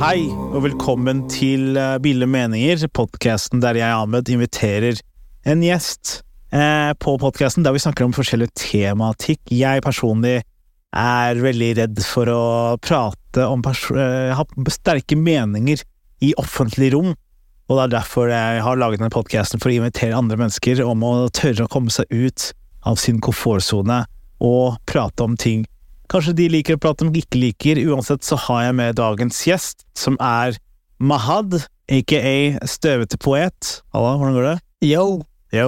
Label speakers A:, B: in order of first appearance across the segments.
A: Hei, og velkommen til eh, Bille meninger, podkasten der jeg, Ahmed, inviterer en gjest eh, på podkasten der vi snakker om forskjellig tematikk. Jeg personlig er veldig redd for å prate om pers eh, ha sterke meninger i offentlig rom, og det er derfor jeg har laget denne podkasten for å invitere andre mennesker om å tørre å komme seg ut av sin komfortsone og prate om ting Kanskje de liker å prate om de ikke liker. Uansett så har jeg med dagens gjest, som er Mahad, aka Støvete poet. Halla, hvordan går det? Yo.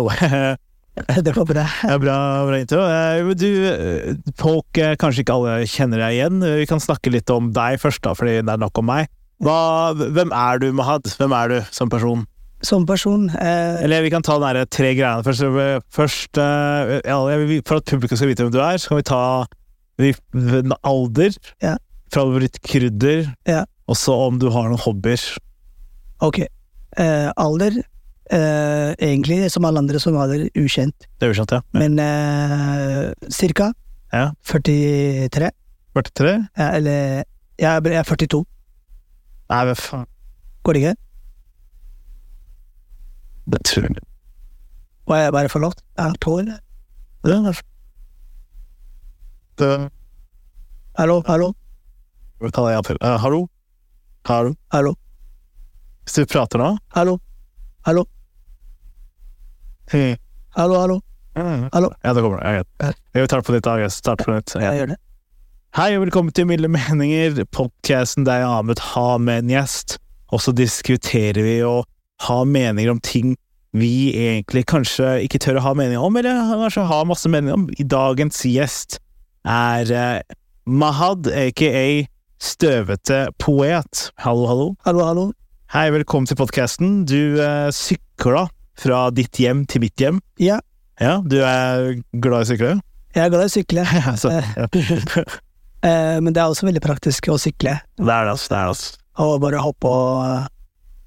A: det går bra. bra, bra intro. Eh, Du, eh, folk eh, kanskje ikke alle kjenner deg igjen. Eh, Vi kan snakke litt om deg først, da, fordi det er nok om meg. Hva, hvem er du, Mahad? Hvem er du som person?
B: som person. Eh,
A: Eller vi kan ta den derre tre greiene først. Så, eh, først eh, ja, jeg vil- for at publikum skal vite hvem du er, så kan vi ta vi, en alder,
B: Ja.
A: favorittkrydder,
B: Ja.
A: og så om du har noen hobbyer.
B: ok. Eh, alder eh, Egentlig, som alle andre somalier, ukjent.
A: Det er uskjønt, ja.
B: Men eh, cirka
A: Ja.
B: 43.
A: 43?
B: Ja, eller jeg er, jeg er 42.
A: Nei, hva faen.
B: Går det ikke?
A: Det tror jeg.
B: Var jeg bare forlatt? Er det tolv?
A: Ja, det er- Det-
B: Hallo, hallo,
A: vi tar det igjen til. Eh, hallo? Hallo?
B: hallo,
A: Hvis du prater nå?
B: hallo, hallo,
A: Hei.
B: hallo, hallo. Hallo?
A: Ja, det kommer det. Jeg,
B: Ja.
A: vet. jeg tar det på nytt. da. Jeg starter på nytt. Ja.
B: Jeg gjør det.
A: Hei og velkommen til Milde meninger, podkasten der jeg Ahmed har med en gjest. Og så diskuterer vi og har meninger om ting vi egentlig kanskje ikke tør å ha meninger om, eller kanskje har masse meninger om. I dagens gjest er eh, Mahad, aka Støvete poet. Hallo, hallo.
B: Hallo, hallo.
A: Hei, velkommen til podkasten. Du eh, sykla fra ditt hjem til mitt hjem.
B: Ja,
A: Ja, du er glad i å sykle?
B: jeg er glad i å sykle,
A: Så, ja. Det
B: eh, men det er også veldig praktisk å sykle
A: er det, altså. Det er det, altså.
B: og bare hoppe og eh,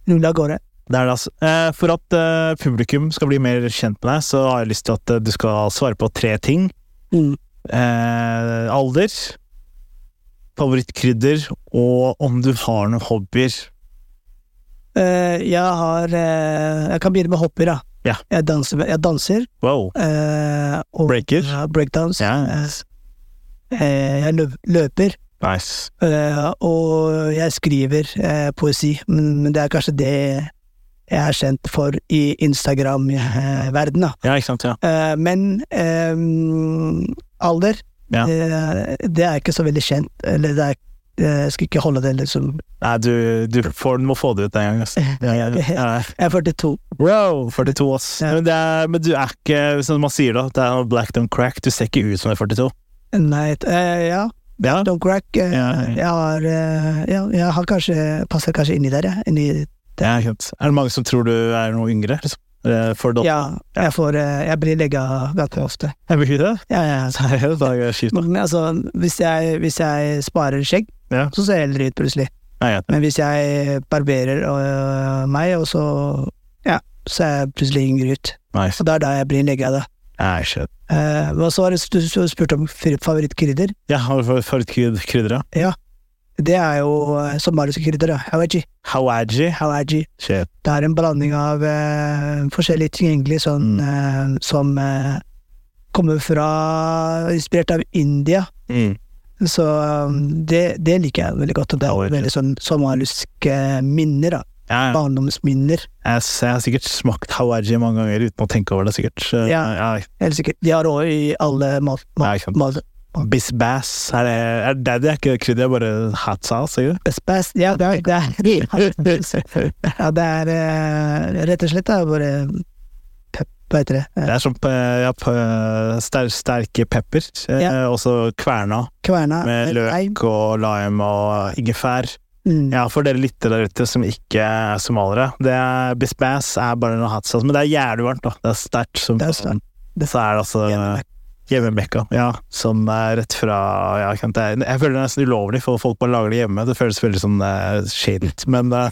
B: nulle av gårde.
A: Det er det, altså. Eh, For at eh, publikum skal bli mer kjent med deg, så har jeg lyst til at eh, du skal svare på tre ting.
B: Mm.
A: Eh, alder, favorittkrydder, og om du har noen hobbyer.
B: Eh, jeg har eh, Jeg kan begynne med hopper, da.
A: Ja.
B: Jeg danser. Jeg danser
A: Wow.
B: eh, og,
A: Breaker?
B: Ja, breakdance.
A: Ja.
B: Eh, jeg løp, løper,
A: Nice.
B: eh, og jeg skriver eh, poesi. Men, men det er kanskje det jeg er kjent for i Instagram-verden, da.
A: Ja, ikke sant? Ja.
B: Eh, men ehm, alder
A: Ja.
B: eh, Det er ikke så veldig kjent. Eller det er, eh, jeg skal ikke holde det liksom
A: Nei, du, du, får, du må få det ut en gang. Altså. Ja, ja, ja.
B: Jeg er 42.
A: Wow, 42, ass.
B: Ja.
A: Men, det er, men du er ikke, som man sier da, det er noe black don't crack. Du ser ikke ut som du er 42.
B: Nei, eh, ja.
A: Ja,
B: Don't crack. eh,
A: Ja, ja.
B: Jeg har, eh, ja, jeg har kanskje passer kanskje inni der, jeg. Inni,
A: det er ikke sant. Er det mange som tror du er noe yngre? Liksom? Eh, For da,
B: ja, jeg, får, eh, jeg blir legga ganske ofte.
A: Er vi det?
B: Ja, ja.
A: Nei, det er jo skitt.
B: Men altså, hvis jeg, hvis jeg sparer skjegg,
A: Ja.
B: så ser jeg eldre ut plutselig.
A: Nei, jeg-
B: Men hvis jeg barberer eh, øh, meg, og så, ja, så er jeg plutselig yngre ut.
A: nice.
B: Så det er da jeg blir legga, da.
A: Jeg skjønner.
B: Eh, og så har du- du du spurt om fri- favorittkrydder.
A: Ja, har du for- favorittkrydder, da?
B: Ja, det er jo eh, somaliske krydder. da. Hawaji.
A: Hawaji.
B: Hawaji.
A: Shit.
B: Det er en blanding av eh, forskjellige ting egentlig, sånn,
A: Mm.
B: eh, som eh, kommer fra Inspirert av India.
A: Mm.
B: Så um, det, det liker jeg veldig godt. Og det er
A: Ja,
B: jo
A: det er
B: veldig sånn somaliske minner. da.
A: Ja, ja.
B: Barndomsminner.
A: jeg, s- jeg har sikkert smakt hawaji mange ganger uten å tenke over det, sikkert. Eh,
B: Ja.
A: ja.
B: Helt sikkert. De har òg i alle mat...
A: Ja,
B: mat,
A: ikke sant.
B: mat
A: Bisbass, er det er det, det er ikke krydder, det er bare hot sauce, ikke det?
B: Spes- ja, det er, det er, ja, det er eh, rett og slett da, bare pep- Hva heter det? Eh,
A: Det er sånn eh, ja, pe- ster, sterke pepper, eh,
B: Ja.
A: også kverna
B: Kverna.
A: med
B: lime.
A: løk og lime og ingefær.
B: Mm.
A: Ja, for dere lyttere der ute som ikke er somalere, det er bisbass er bare noe hot sauce, men det er jævlig varmt, da. Det er sterkt som
B: Det er sterkt.
A: Så er det altså
B: Hjemmebekka.
A: Hjemmebekka, ja. Som er rett fra ja, ikke sant, det er, Jeg føler det er nesten ulovlig, for folk bare lager det hjemme. Det føles veldig sånn eh, shaded, men, eh,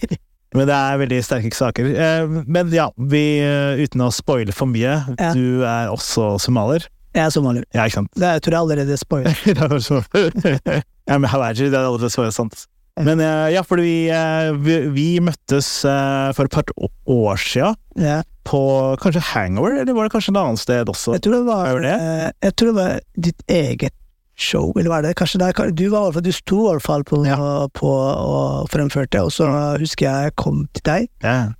A: men det er veldig sterke saker. Eh, men ja, vi, eh, uten å spoile for mye,
B: Ja.
A: du er også somalier.
B: Jeg er somalier.
A: Ja, ikke sant?
B: Det er- jeg tror jeg allerede spoiler.
A: Det er bare så- ja, men Hawaii, det er allerede så sant. Men eh, ja, fordi vi, eh, vi, vi møttes eh, for et par å- år sia,
B: Ja.
A: på kanskje Hangover, eller var det kanskje et annet sted også?
B: Jeg tror det var,
A: Er det det?
B: eh, jeg tror det var ditt eget show, eller hva er det? Kanskje det er, kan- du, var, i hvert fall- du sto i hvert fall på, på og fremførte, og så husker jeg jeg kom til deg,
A: Ja,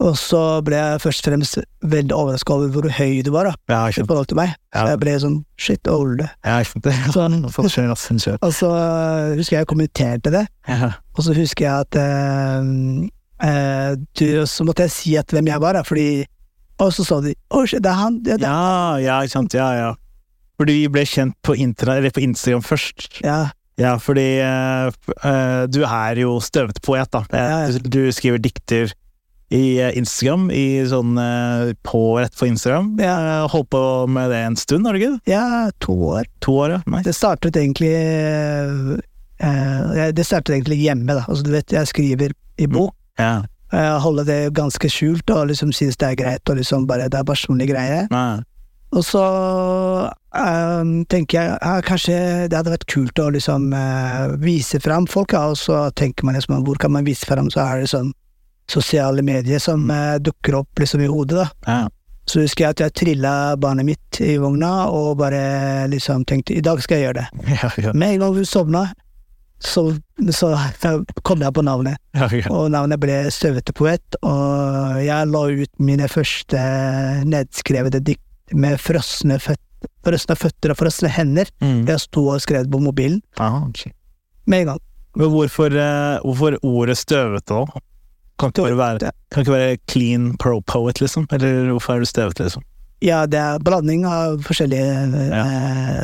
B: og så ble jeg først og fremst veldig overraska over hvor høy du var da,
A: ja, ikke
B: i
A: sant.
B: forhold til meg.
A: Ja.
B: Jeg ble sånn shit olde.
A: Ja, ikke sant. Det er
B: Sånn.
A: noe som skjer, ass. Skjer.
B: Og så eh, husker jeg jeg kommenterte det,
A: Ja.
B: og så husker jeg at eh, eh, du, og så måtte jeg si at hvem jeg var, da, fordi Og så sa de 'Å, shit, det er han'. Det, er det.
A: ja, ja, ikke sant. Ja, ja. Fordi vi ble kjent på, intra, eller på Instagram først.
B: Ja.
A: Ja, fordi eh, f- eh, du er jo støvete poet, da. Eh,
B: Ja, ja.
A: Du du skriver dikter i eh, Instagram, i sånn eh, på rett på Instagram. Jeg har holdt på med det en stund, har du ikke? det?
B: ja, to år.
A: To år, ja. Nei.
B: Det startet egentlig eh, eh, Det startet egentlig hjemme, da. Altså, du vet, jeg skriver i bok.
A: Ja.
B: Jeg holder det ganske skjult og liksom synes det er greit, og liksom bare det er personlig greie.
A: Nei.
B: Og så eh, tenker jeg ja, kanskje det hadde vært kult å liksom eh, vise fram folk, ja, og så tenker man liksom hvor kan man vise fram, så er det sånn sosiale medier som eh, dukker opp liksom i hodet, da.
A: Ja.
B: Så husker jeg at jeg trilla barnet mitt i vogna og bare liksom tenkte i dag skal jeg gjøre det.
A: Ja, ja.
B: Med en gang hun sovna, så, så kom jeg på navnet.
A: Ja, ja.
B: Og navnet ble Støvete poet, og jeg la ut mine første nedskrevede dikt med frosne, føt frosne føtter og frosne hender.
A: Mm.
B: Jeg sto og skrev på mobilen
A: Ah, ok.
B: med en gang.
A: Men hvorfor, eh, hvorfor ordet støvete, da? Kan ikke bare være, kan ikke være clean pro poet, liksom? Eller hvorfor er du støvete, liksom?
B: Ja, det er blanding av forskjellige
A: Ja.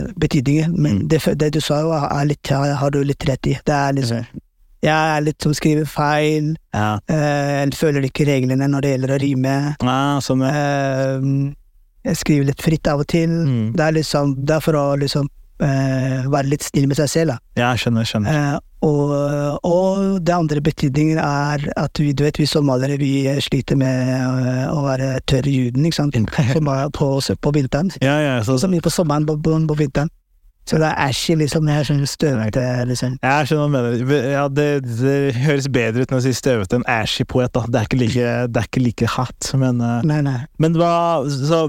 B: eh, betydninger, men
A: Mm.
B: det, fø- det du sa, jo er litt, har har du litt rett i. Det er liksom, jeg er litt som skriver feil,
A: Ja.
B: eh, følger ikke reglene når det gjelder å rime.
A: Ah, sånn, ja.
B: Eh, jeg skriver litt fritt av og til.
A: Mm.
B: Det, er liksom, det er for å liksom eh, være litt snill med seg selv. Da.
A: ja, jeg skjønner, skjønner.
B: Eh, og, og det andre betydningen er at vi, du vet, vi somaliere vi sliter med eh, å være tørr i huden ikke
A: Mm.
B: sant? Som er på, på vinteren.
A: Ja, ja, så,
B: Så mye på sommeren, på, på, på vinteren. Så det er æsj i liksom, jeg er sånn støvete, liksom.
A: jeg skjønner hva du mener. Ja, det, det høres bedre ut når du sier støvete enn ashy poet, da. Det er ikke like, det er ikke like hot, men, eh,
B: Nei, nei.
A: men hva så,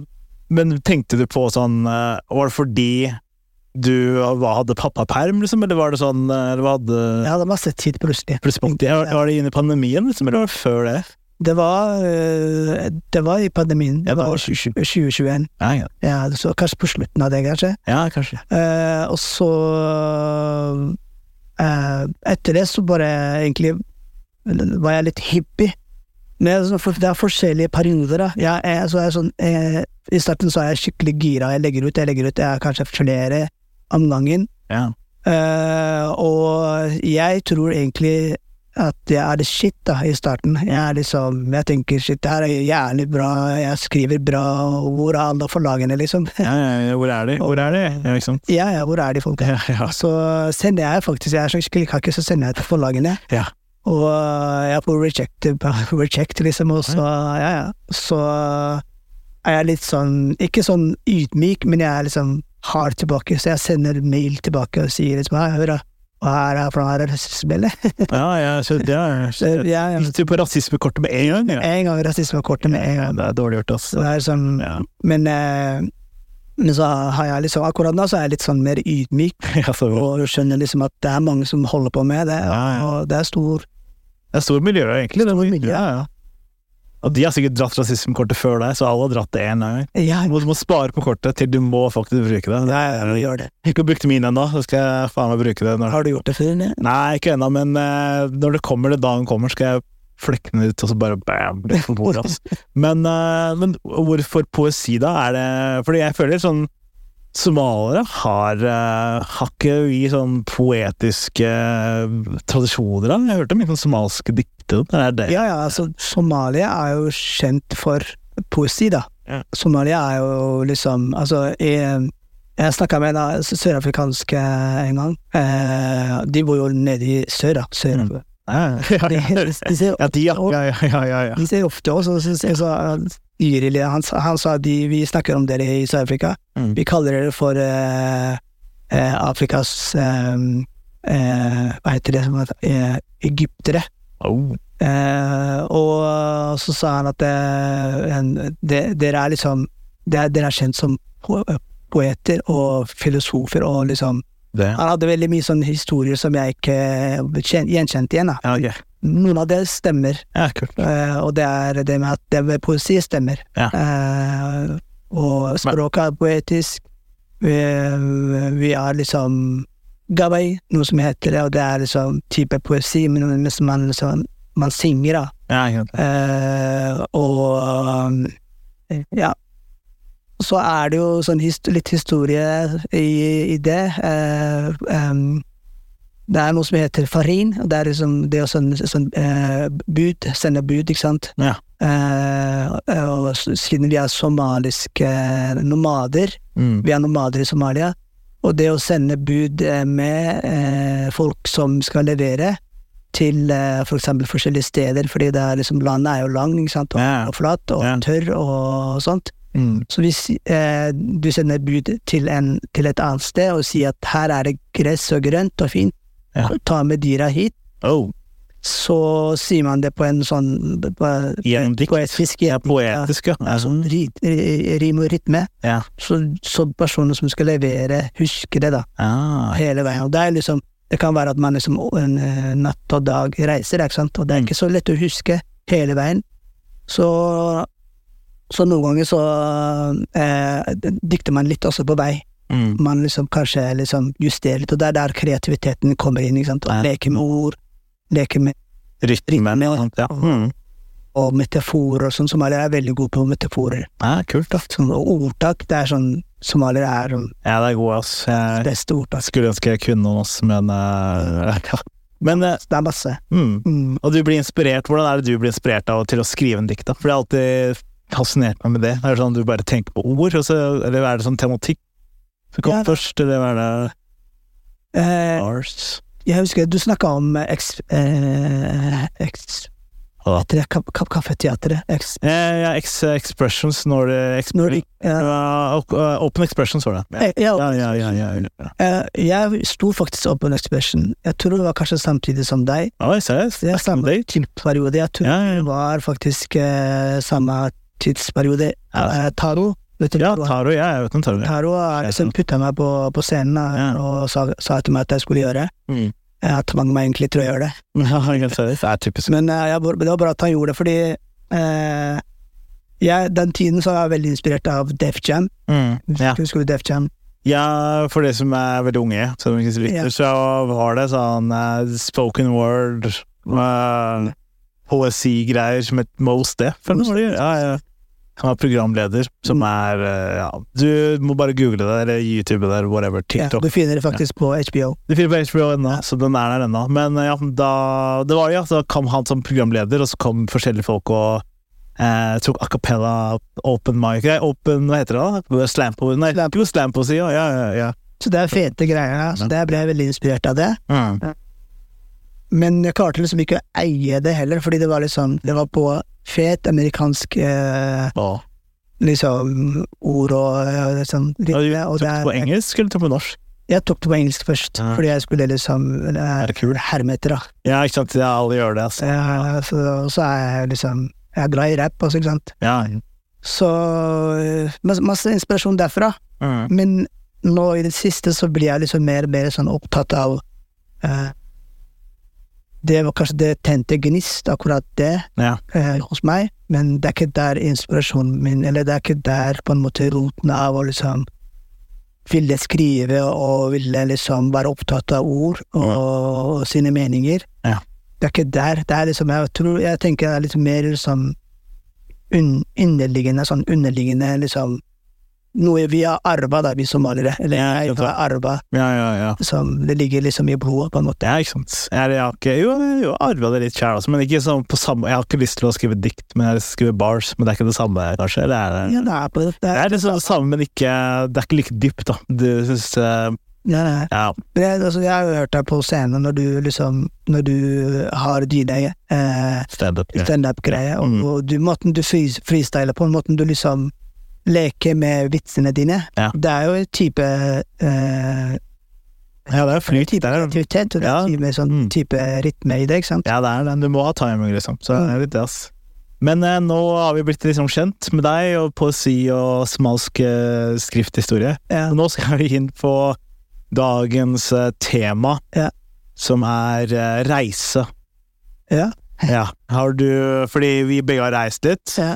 A: Men tenkte du på sånn eh, Var det fordi du hva, hadde pappaperm, liksom, eller var det sånn eh, Eller hva hadde
B: Jeg hadde masse tid plutselig.
A: for det spott- ja. var, var det under pandemien, liksom, eller var det før det?
B: Det var, eh, det var i pandemien.
A: Ja, det var
B: 2021.
A: Ja, ja.
B: Ja, så kanskje på slutten av det, kanskje.
A: ja kanskje.
B: Eh, og så eh, Etter det så bare egentlig var jeg litt hippie. Men jeg- så for- det er forskjellige perioder, da. Jeg er, så er jeg sånn, eh, I starten så er jeg skikkelig gira. Jeg legger ut, jeg legger ut. Jeg er kanskje flere om gangen.
A: Ja.
B: Eh, og jeg tror egentlig at jeg er det shit da, i starten. Jeg er liksom, jeg tenker shit, det her er jævlig bra, jeg skriver bra, og hvor er alle forlagene, liksom?
A: Ja, ja, ja, hvor er de? Hvor er de? Ja, ikke sant?
B: Ja, ja, hvor er de folka?
A: Ja, ja.
B: Så sender jeg faktisk, jeg er så skikkelig kakk, så sender jeg til forlagene.
A: Ja.
B: Og jeg får reject, reject liksom, og så, ja, ja. Så er jeg litt sånn, ikke sånn ydmyk, men jeg er liksom hard tilbake, så jeg sender mail tilbake og sier liksom, hei, hør da, og her er fra her er rasismebellet.
A: Ja, ja, så det er
B: Så, ja, ja.
A: Gikk du på rasismekortet med en gang? Ja.
B: En gang rasismekortet med en gang.
A: Det er dårlig gjort, ass.
B: Så det er sånn,
A: Ja.
B: men, eh, men så har jeg liksom, akkurat nå så er jeg litt sånn mer ydmyk,
A: Ja, så bra.
B: og skjønner liksom at det er mange som holder på med det,
A: Ja, ja.
B: og det er stor,
A: Det er stor miljø, egentlig. Det
B: Stor miljø.
A: Ja, ja. Og de har sikkert dratt rasismekortet før deg, så alle har dratt det én gang.
B: ja,
A: Du må, du må spare på kortet til du må faktisk bruke det. det er, jeg
B: gjør det.
A: har ikke brukt min ennå, så skal jeg faen meg bruke det. Når...
B: Har du gjort det før? Nei?
A: Nei, ikke ennå, men eh, når det kommer, det dagen kommer, skal jeg flekke den ut, og så bare bam! blir det for moro, ass. men, eh, men hvorfor poesi, da? Er det Fordi jeg føler sånn Somaliere har, eh, har ikke vi sånn poetiske eh, tradisjoner? da? Jeg hørte om mye sånn somalske dikter. Er det
B: Ja, ja, altså Somalia er jo kjent for poesi, da.
A: Ja.
B: Somalia er jo liksom Altså, jeg, jeg snakka med en av s- sørafrikanske en gang. Eh, de bor jo nede i sør, da. Sør.
A: Mm. Ja,
B: De, de, ser,
A: ja, de, ja. Ja, ja, ja, ja, ja.
B: de ser ofte oss, og så, så, så Yril, han, sa- han sa de, vi snakker om dere i Sør-Afrika.
A: Mm.
B: Vi kaller dere for eh, eh, Afrikas eh, eh, Hva heter det? som heter- Eh, egyptere.
A: Oh.
B: Eh, og så sa han at eh, en, de, dere er liksom de, Dere er kjent som po eh, poeter og filosofer og liksom
A: Det.
B: Han hadde veldig mye sånne historier som jeg ikke eh, kjen, gjenkjente igjen. da.
A: Ja, ok.
B: Noen av det stemmer,
A: ja, kult.
B: eh, og det er det med at det med poesi stemmer.
A: Ja.
B: Eh, og språket er poetisk. Vi, vi er liksom gabai, noe som heter det, og det er liksom type poesi, men men som man, liksom, man synger, da.
A: Ja, ikke sant.
B: Eh, og um, ja. Så er det jo sånn hist litt historie i, i det. Eh, em, det er noe som heter farin. og Det er liksom det å sånn, sånn eh, bud, sende bud, ikke sant.
A: Ja.
B: Eh, og s- siden vi er somaliske nomader,
A: Mm.
B: vi er nomader i Somalia, og det å sende bud eh, med eh, folk som skal levere til eh, for eksempel forskjellige steder, fordi det er liksom, landet er jo lang, ikke sant, og,
A: Ja.
B: og flat og
A: Ja.
B: tørr og sånt.
A: Mm.
B: Så hvis eh, du sender bud til, en, til et annet sted og sier at her er det gress og grønt og fint,
A: Ja.
B: ta med dyra hit,
A: Oh,
B: så sier man det på en sånn på,
A: i en dikt.
B: poetisk
A: Ja, poetisk, ja. Ja, sånn.
B: ri- ri- rim og rytme,
A: Ja.
B: så, så personer som skal levere, husker det da.
A: Ah,
B: hele veien. Og det, er liksom, det kan være at man liksom en eh, natt og dag reiser, ikke sant? og det
A: Mm.
B: er ikke så lett å huske hele veien. Så, så noen ganger så eh, dikter man litt også på vei.
A: mm.
B: Man liksom kanskje liksom justerer litt, og det er der kreativiteten kommer inn. ikke sant?
A: Ja.
B: Leke med ord, leke med
A: Rytmen, ja. sant, Ja. Mm.
B: og metaforer og sånn. Somaliere er veldig gode på metaforer.
A: ja, kult. da.
B: Sånn, og ordtak, det er sånn Somaliere er sånn
A: Ja, det er god, ass. Jeg
B: beste ordtak.
A: skulle ønske jeg kunne noen, ass, men eh, ja. Men eh,
B: Det er masse.
A: mm.
B: Mm.
A: Og du blir inspirert, hvordan er det du blir inspirert av til å skrive en dikt, da? For det har alltid fascinert meg med det. Er det sånn at du bare tenker på ord, og så, eller er det sånn tematikk som kom
B: Ja, det-
A: først, eller er det
B: Eh,
A: Ars?
B: Jeg husker du snakka om eks... Eh, eks
A: Hva da?
B: etter det, kap, kap, kaffeteatret. Eks,
A: Eh, ja, ex expressions når det eksp
B: når, ja,
A: Ja, o- eh, Open expressions var det.
B: eh, ja,
A: Ja, ja, ja. ja, ja.
B: eh, jeg sto faktisk opp på en Expression. Jeg tror det var kanskje samtidig som deg.
A: Oi, seriøst?
B: Det er samme
A: Det er kjipt.
B: tidsperiode. Jeg tror
A: Ja, ja, ja.
B: det var faktisk eh, samme tidsperiode.
A: Ja.
B: Eh, taro. Vet du,
A: Ja,
B: hva
A: taro. Ja, jeg vet om taro. Ja.
B: Taro er liksom putta meg på, på scenen da,
A: Ja.
B: og sa, sa til meg at jeg skulle gjøre.
A: Mm.
B: Eh, At tvang meg egentlig til å gjøre det.
A: Ja, ikke sant, seriøst. Det er typisk.
B: Men eh, jeg, det var bra at han gjorde det, fordi eh, jeg, den tiden så var jeg veldig inspirert av Def Jam.
A: Mm. Ja.
B: Husker du Def Jam?
A: ja, for de som er veldig unge, som ikke lytter,
B: Ja.
A: så var det sånn eh, spoken word eh, Poesigreier som het Most Deaf, eller noe sånt. Ja, ja. Han er programleder, som er eh, Ja, du må bare google det, eller YouTube det, eller whatever.
B: Ja,
A: TikTok.
B: du finner det faktisk på HBO.
A: Det finner på HBO ennå, så den er der ennå. Men eh, ja, da, det var jo, ja, så kom han som programleder, og så kom forskjellige folk og eh, tok a cappella, open mic Nei, open, hva heter det da? Slampo, nei,
B: Slam.
A: jo, slampo, sier jeg. ja, ja,
B: Så det er fete greier. da, Så der ble jeg veldig inspirert av det.
A: ja.
B: Men jeg klarte liksom ikke å eie det heller, fordi det var liksom Det var på fet amerikansk eh,
A: Å,
B: liksom ord og eh, sånn
A: Ja, du
B: rytme, og
A: tok
B: det
A: det på
B: er-
A: engelsk eller tok det på norsk?
B: Jeg tok det på engelsk først,
A: Ja.
B: fordi jeg skulle liksom
A: Er
B: eh,
A: det kul?
B: herme etter, da.
A: Ja, ikke sant. Ja, alle gjør det, altså.
B: Eh, Så, og så er jeg liksom Jeg er glad i rap, altså, ikke sant.
A: Ja.
B: Så eh, mas- masse inspirasjon derfra.
A: Mm.
B: Men nå i det siste så blir jeg liksom mer og mer sånn opptatt av eh, Det var kanskje det tente gnist, akkurat det,
A: Ja.
B: eh, hos meg. Men det er ikke der inspirasjonen min Eller det er ikke der på en måte roten av å liksom ville skrive og ville liksom være opptatt av ord og, og sine meninger.
A: Ja.
B: Det er ikke der. Det er liksom, jeg tror, jeg tenker det er litt mer liksom un, underliggende, sånn underliggende liksom noe vi har arva, da, vi somaliere. Eller
A: Ja,
B: jeg
A: ikke sant.
B: har arva,
A: ja, ja, ja.
B: som det ligger liksom i blodet, på en måte.
A: Det er ikke sant. Jeg, jeg har ikke, jo, jeg har arva det litt sjæl, altså, men ikke sånn på samme Jeg har ikke lyst til å skrive dikt, men jeg skriver bars, men det er ikke det samme, kanskje? Eller er det?
B: Ja, det er på det. det
A: Det
B: er,
A: er liksom det samme, men ikke, det er ikke like dypt, da. Du synes, eh,
B: ja, det er.
A: Ja.
B: Men jeg, altså, jeg har jo hørt deg på scenen når du liksom Når du har dine eh,
A: Standup. Ja.
B: standup-greier, og,
A: Mm.
B: og du, måten du free- freestyler på, måten du liksom leker med vitsene dine,
A: Ja.
B: det er jo en type eh,
A: ja, det er flyt. Det er,
B: aktivitet, og det er
A: Ja.
B: en type, sånn
A: Mm.
B: type rytme i det, ikke sant?
A: ja, det er det. Du må ha timing, liksom. Så det er litt det, ass. Men eh, nå har vi blitt liksom kjent med deg og poesi og smalsk eh, skrifthistorie.
B: Ja.
A: Og nå skal vi inn på dagens eh, tema,
B: Ja.
A: som er eh, reise.
B: Ja.
A: Ja. Har du Fordi vi begge har reist litt.
B: Ja.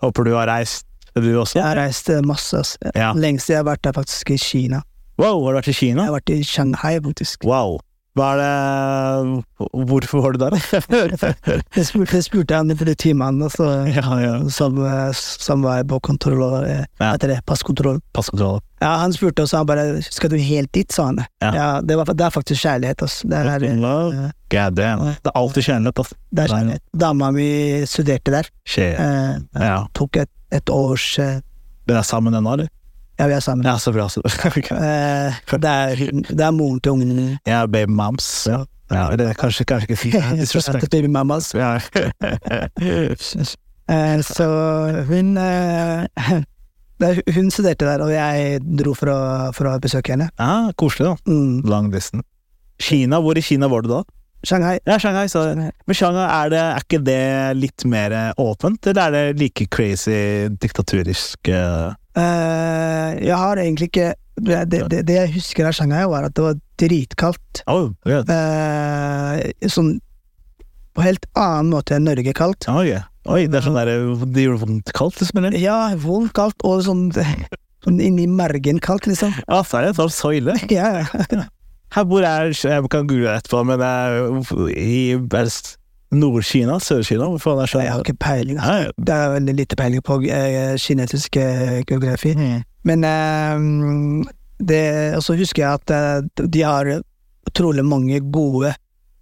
A: Håper du har reist, du også.
B: Jeg har reist eh, masse, ass.
A: Ja.
B: Lengst jeg har vært der faktisk i Kina.
A: Wow, har du vært i Kina?
B: Jeg har vært i Shanghai, faktisk.
A: Wow. Hva er det Hvorfor var du der?
B: Det spurte, det spurte han for de timene altså,
A: ja, ja.
B: som, eh, som var på kontroll, og, eh,
A: Ja.
B: etter det, passkontroll.
A: Passkontroll.
B: Ja, han spurte, og så han bare 'skal du helt dit', sa han.
A: Ja.
B: det, var, det er faktisk kjærlighet, altså. Det er, eh,
A: Love. God damn. Det er alltid kjærlighet, ass.
B: det er kjærlighet. Dama mi studerte der.
A: Shit.
B: Eh,
A: Ja.
B: tok et, et års eh,
A: Dere er sammen ennå, eller?
B: Ja, vi er sammen.
A: Ja, så bra. Så. bra.
B: Eh, det, er, det er moren til ungene mine.
A: Jeg er baby moms. Ja. ja eller kanskje, kanskje ikke fint. Disrespect.
B: Baby mamas.
A: Ja.
B: Eh, Så hun eh, det er- Hun studerte der, og jeg dro for å, for å besøke henne.
A: ah, koselig, da.
B: Mm.
A: Long distance. Kina, hvor i Kina var du da?
B: Shanghai.
A: Ja, Shanghai, sa jeg. Men Shanghai, er, det, er ikke det litt mer åpent, eller er det like crazy diktaturisk eh?
B: Eh, jeg har egentlig ikke det, det, det- det jeg husker av Shanghai, var at det var dritkaldt.
A: Oh, yeah.
B: Eh, sånn på helt annen måte enn Norge kaldt.
A: Oh, yeah. Oi, det er sånn der Det gjør vondt kaldt, liksom, eller?
B: Ja, vondt kaldt, og sånn, sånn inni mergen kaldt, liksom.
A: Ja, seriøst, var det sånn, så ille?
B: Ja, ja.
A: Her bor jeg, jeg kan google det etterpå, men jeg, i best Nord-Kina, Sør-Kina, hvor faen er
B: Jeg har
A: Shanghai?
B: ikke peiling. altså.
A: Ja, ja.
B: Det er veldig lite peiling på eh, kinesisk eh, geografi.
A: Mm.
B: Men eh, det, og så husker jeg at eh, de har utrolig mange gode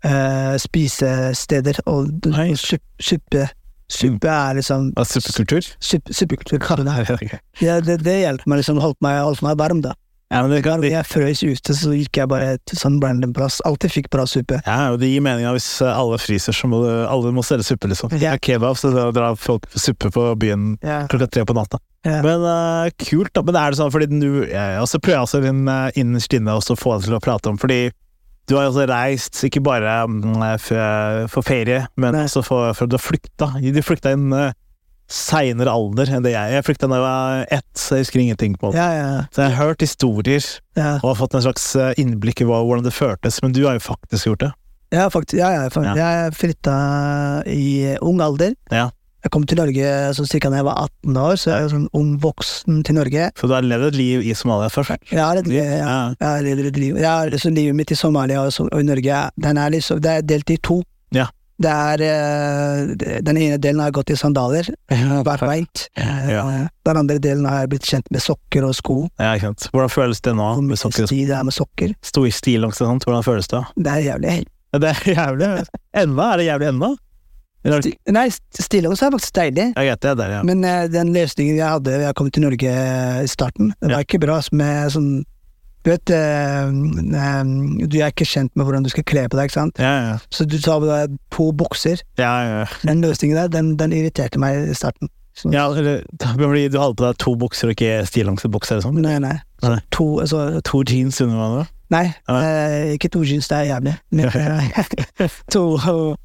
B: eh, spisesteder, og d-
A: Nice.
B: sup- suppe Suppe er liksom
A: Altså, Superkultur?
B: supp- Suppekultur.
A: Nei, det er ikke.
B: Ja, det, det hjelper meg, liksom. Holdt meg, holdt meg varm, da.
A: Ja, men det kan, det,
B: Jeg frøs ute, så gikk jeg bare til sånn random plass. Alltid fikk bra suppe.
A: ja, og det gir mening at hvis alle fryser, så må du, alle må selge suppe, liksom.
B: Ja.
A: Ja. Kebab, så da drar folk suppe på byen klokka tre på natta.
B: Ja.
A: Men eh, kult, da. Men er det sånn fordi du eh, Og så prøver jeg også din, eh, innerst inne også å få deg til å prate om, fordi du har jo også reist, ikke bare mm, for, for ferie, men
B: Nei.
A: også for, for du har flykta. Du flykta i en uh, seinere alder enn det jeg Jeg flykta da jeg var ett, så jeg husker ingenting på det.
B: Ja, ja,
A: Så jeg har hørt historier
B: ja.
A: og har fått en slags eh, innblikk i hva, hvordan det føltes, men du har jo faktisk gjort det.
B: Ja, faktisk, ja, ja, fa-
A: Ja.
B: Jeg flytta i ung alder.
A: Ja.
B: Jeg kom til Norge sånn cirka da jeg var 18 år, så jeg er jo sånn ung voksen til Norge.
A: For du har levd et liv i Somalia først.
B: Jeg har et, jeg,
A: Ja.
B: jeg har levd et liv. Jeg har, så livet mitt i Somalia og, så- og i Norge den er liksom, det er delt i to.
A: Ja.
B: Det er, eh, det- den ene delen har jeg gått i sandaler, vært beint.
A: Ja.
B: Eh, Den andre delen har jeg blitt kjent med sokker og sko.
A: Ja, ikke sant. Hvordan føles det nå? Med sokker,
B: Sti det er med sokker.
A: sto i stil og sånt. Hvordan føles det?
B: Det er jævlig.
A: Ja, Det er jævlig. Ennå? Er det jævlig ennå? Eller er det-
B: Nei, stillongs er faktisk deilig.
A: Ja, greit, det er der, ja.
B: Men eh, den løsningen jeg hadde da jeg kom til Norge i starten, det var ikke bra ass, med sånn Du vet, eh, eh, du er ikke kjent med hvordan du skal kle på deg, ikke sant?
A: Ja, ja.
B: Så du tar på deg to bukser.
A: ja, ja.
B: Den løsningen der, den, den irriterte meg i starten. Så,
A: Ja, eller, fordi du hadde på deg to bukser og ikke stillongserbukser eller sånn?
B: Nei, nei.
A: Nei.
B: To, altså,
A: To jeans under hverandre?
B: nei,
A: Ja.
B: eh, ikke to jeans, det er jævlig. Men, eh, to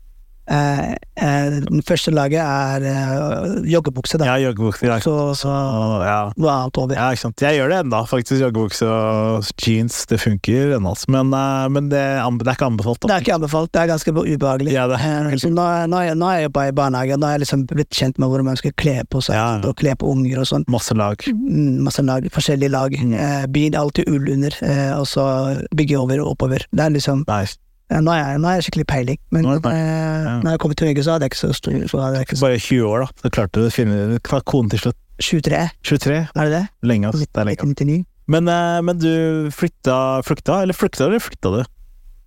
B: eh, eh, Den første laget er eh, joggebukse, da.
A: Ja, joggebukser. Ja.
B: Så, så
A: Å, ja.
B: hva er annet over?
A: ja, ikke sant. Jeg gjør det ennå, faktisk. Joggebukse og jeans, det funker ennå. altså. Men, eh, men det, er anbe- det er ikke anbefalt.
B: Det
A: Da.
B: er ikke anbefalt, det er ganske ubehagelig.
A: Ja, det er
B: Eh, så nå, nå, er jeg, nå er jeg bare i barnehagen, nå er jeg liksom blitt kjent med hvordan man skal kle på seg,
A: Ja, ja.
B: og kle på unger og sånn.
A: masse lag.
B: Mm, masse lag, forskjellige lag.
A: Mm.
B: Eh, Begynn alltid ull under, eh, og så bygge over og oppover. Det er liksom
A: Nei.
B: ja, Nå er jeg, nå er jeg skikkelig peiling, men
A: Nå er det
B: eh,
A: peiling, ja.
B: når jeg kommer til Norge, så hadde jeg ikke så stor så hadde jeg ikke så
A: Bare 20 år, da. Så klarte du å finne Hva er koden til slutt?
B: 23,
A: 23?
B: er det det?
A: Lenge, ass. Det er lenge.
B: 1999.
A: Men, eh, men du flytta Flykta, eller flykta, eller flytta du?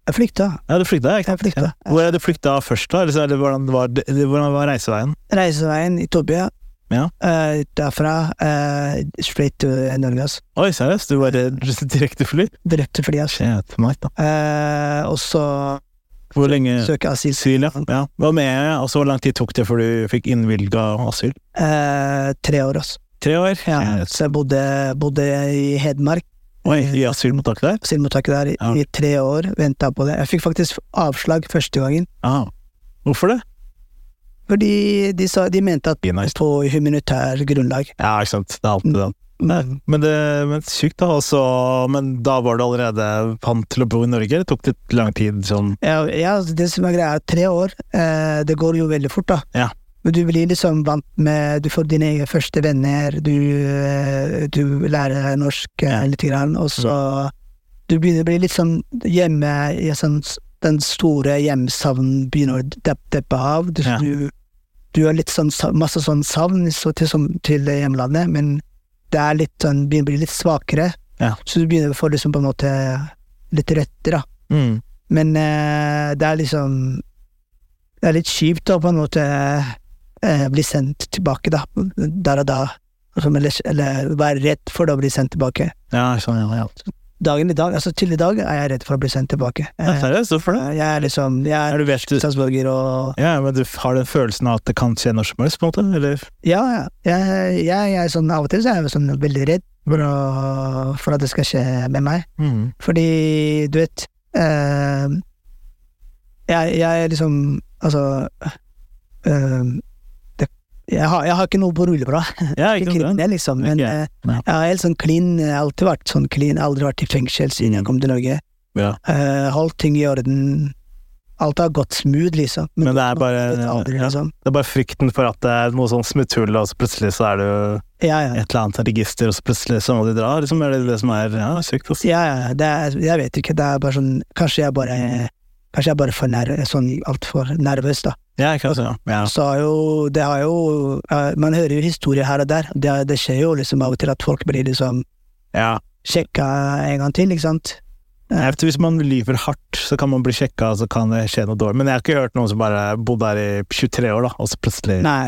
B: Jeg flykta.
A: Ja, du flykta, ikke
B: Jeg
A: sant?
B: flykta.
A: Ja. Hvor er det du flykta først, da? Eller, så- eller hvordan, var, det- eller hvordan var reiseveien?
B: Reiseveien i Tobia.
A: Ja.
B: Eh, derfra eh, straight to Norge, ass.
A: Oi, seriøst? Du bare direktefly?
B: Direkte fly, ass.
A: Shit, nice, da.
B: Eh, og så
A: Hvor lenge
B: søke asyl. Eh,
A: Asyl, ja. ja. Hva med, altså, hvor lang tid tok det før du fikk innvilga asyl?
B: Eh, tre år, ass.
A: Tre år?
B: Ja.
A: Eh,
B: Så jeg bodde, bodde i Hedmark. Eh,
A: Oi, i asylmottaket der?
B: asylmottaket der i,
A: Ja.
B: i tre år, venta på det. Jeg fikk faktisk avslag første gangen,
A: Ja. Hvorfor det?
B: fordi de, sa, de mente at
A: Be nice.
B: på humanitær grunnlag.
A: Ja, ikke sant. Det er alltid det.
B: Mm.
A: Men, det, men sykt, da. Altså, men da var det allerede pant til å bo i Norge? eller Tok det lang tid sånn
B: Ja, ja, altså, det som er greia, er at tre år, eh, det går jo veldig fort, da.
A: Ja.
B: Men du blir liksom vant med Du får dine egne første venner, du, eh, du lærer deg norsk eh, lite grann, og så
A: Mm.
B: Du begynner å bli litt sånn hjemme ja, sånn, s- Den store hjemsavnen begynner å deppe, deppe av. Du,
A: Ja.
B: du, du har litt sånn, sa- masse sånn savn så til, som, til hjemlandet, men det er litt sånn, begynner å bli litt svakere.
A: Ja.
B: Så du begynner å få liksom på en måte litt røtter, da.
A: mm.
B: Men eh, det er liksom Det er litt kjipt å på en måte eh, bli sendt tilbake, da. Der og da. Altså, Eller, eller være redd for å bli sendt tilbake.
A: Ja, sånn, ja, ja.
B: Dagen i dag, altså Til i dag er jeg redd for å bli sendt tilbake.
A: ja
B: Eh,
A: seriøst, hvorfor det?
B: jeg er liksom Jeg
A: Er
B: er
A: du vet du
B: statsborger og
A: Ja, men du har den følelsen av at det kan skje når som helst, på en måte? Eller?
B: Ja, ja. Jeg, jeg, jeg er sånn, av og til så er jeg sånn veldig redd for, å, for at det skal skje med meg.
A: Mm.
B: Fordi, du vet eh, jeg, jeg er liksom Altså eh, det, jeg, har, jeg har ikke noe på rulleblad.
A: Ja,
B: Ikke
A: ikke sant?
B: kriminell, liksom. Men
A: Ok,
B: eh,
A: ja.
B: jeg har helt sånn clean, jeg har alltid vært sånn clean. Jeg har Aldri vært i fengsel siden jeg kom til Norge.
A: Ja.
B: Eh, holdt ting i orden. Alt har gått smooth, liksom.
A: Men det er bare,
B: jeg vet aldri,
A: ja,
B: liksom.
A: det er bare frykten for at det er noe sånn smutthull, og så plutselig så er det jo
B: Ja, ja.
A: et eller annet register, og så plutselig så må de dra. Liksom, er det det som er ja, sykt? Altså.
B: Ja, ja, det er, jeg vet ikke. Det er bare sånn Kanskje jeg bare Kanskje jeg bare er for nær, sånn altfor nervøs, da.
A: Ja, ikke sant? Ja.
B: Så har jo Det har jo eh, Man hører jo historier her og der. Det, det skjer jo liksom av og til at folk blir liksom
A: ja.
B: sjekka en gang til, ikke sant?
A: Jeg vet, hvis man lyver hardt, så kan man bli sjekka, og så kan det skje noe dårlig. Men jeg har ikke hørt noen som bare bodde her i 23 år, da, og så plutselig
B: Nei.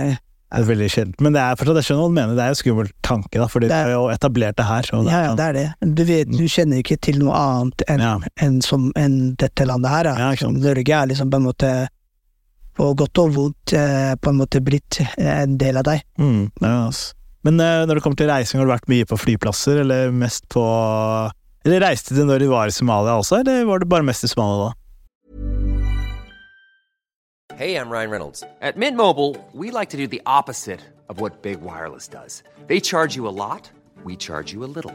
A: er det veldig sjeldent. Men det er fortsatt, jeg skjønner hva du mener, det er jo skummel tanke, da, fordi vi
B: Det er-
A: har jo etablert det her. Og det, sånn-
B: Ja, ja, det er det. Du vet, du kjenner ikke til noe annet enn
A: Ja.
B: enn som, enn dette landet her. Da.
A: Ja, ikke sant.
B: Norge er liksom på en måte, på godt og vondt, eh, på en måte blitt eh, en del av deg.
A: Mm, ja, altså. Men eh, når det kommer til reising, har du vært mye på flyplasser, eller mest på Eller reiste du når du var i Somalia også, eller var du bare mest i Somalia da?
C: Hey, I'm Ryan Reynolds. At Mint Mobile, we like to do the opposite of what Big Wireless does. They charge you a lot, we charge you a little.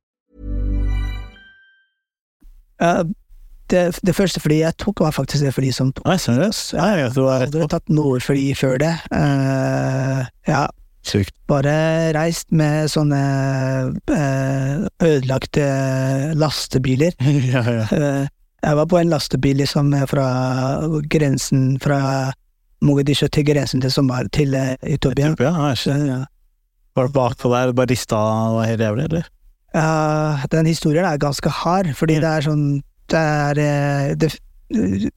B: Eh, det, det første flyet jeg tok, var faktisk det flyet som tok
A: Nei, seriøst? Ja, jeg tror jeg er
B: Jeg har
A: rett på.
B: tatt noe fly før det. Eh, ja,
A: Sykt.
B: bare reist med sånne eh, ødelagte lastebiler.
A: ja, ja.
B: Eh, jeg var på en lastebil liksom fra grensen fra Mogadishu til grensen til Somar til eh, Etiopia.
A: Ja, jeg skjønner.
B: Ja.
A: Var det bakpå der, bare rista og var helt jævlig, eller?
B: Ja, den historien er ganske hard, fordi
A: Mm.
B: det er sånn Det er eh, det,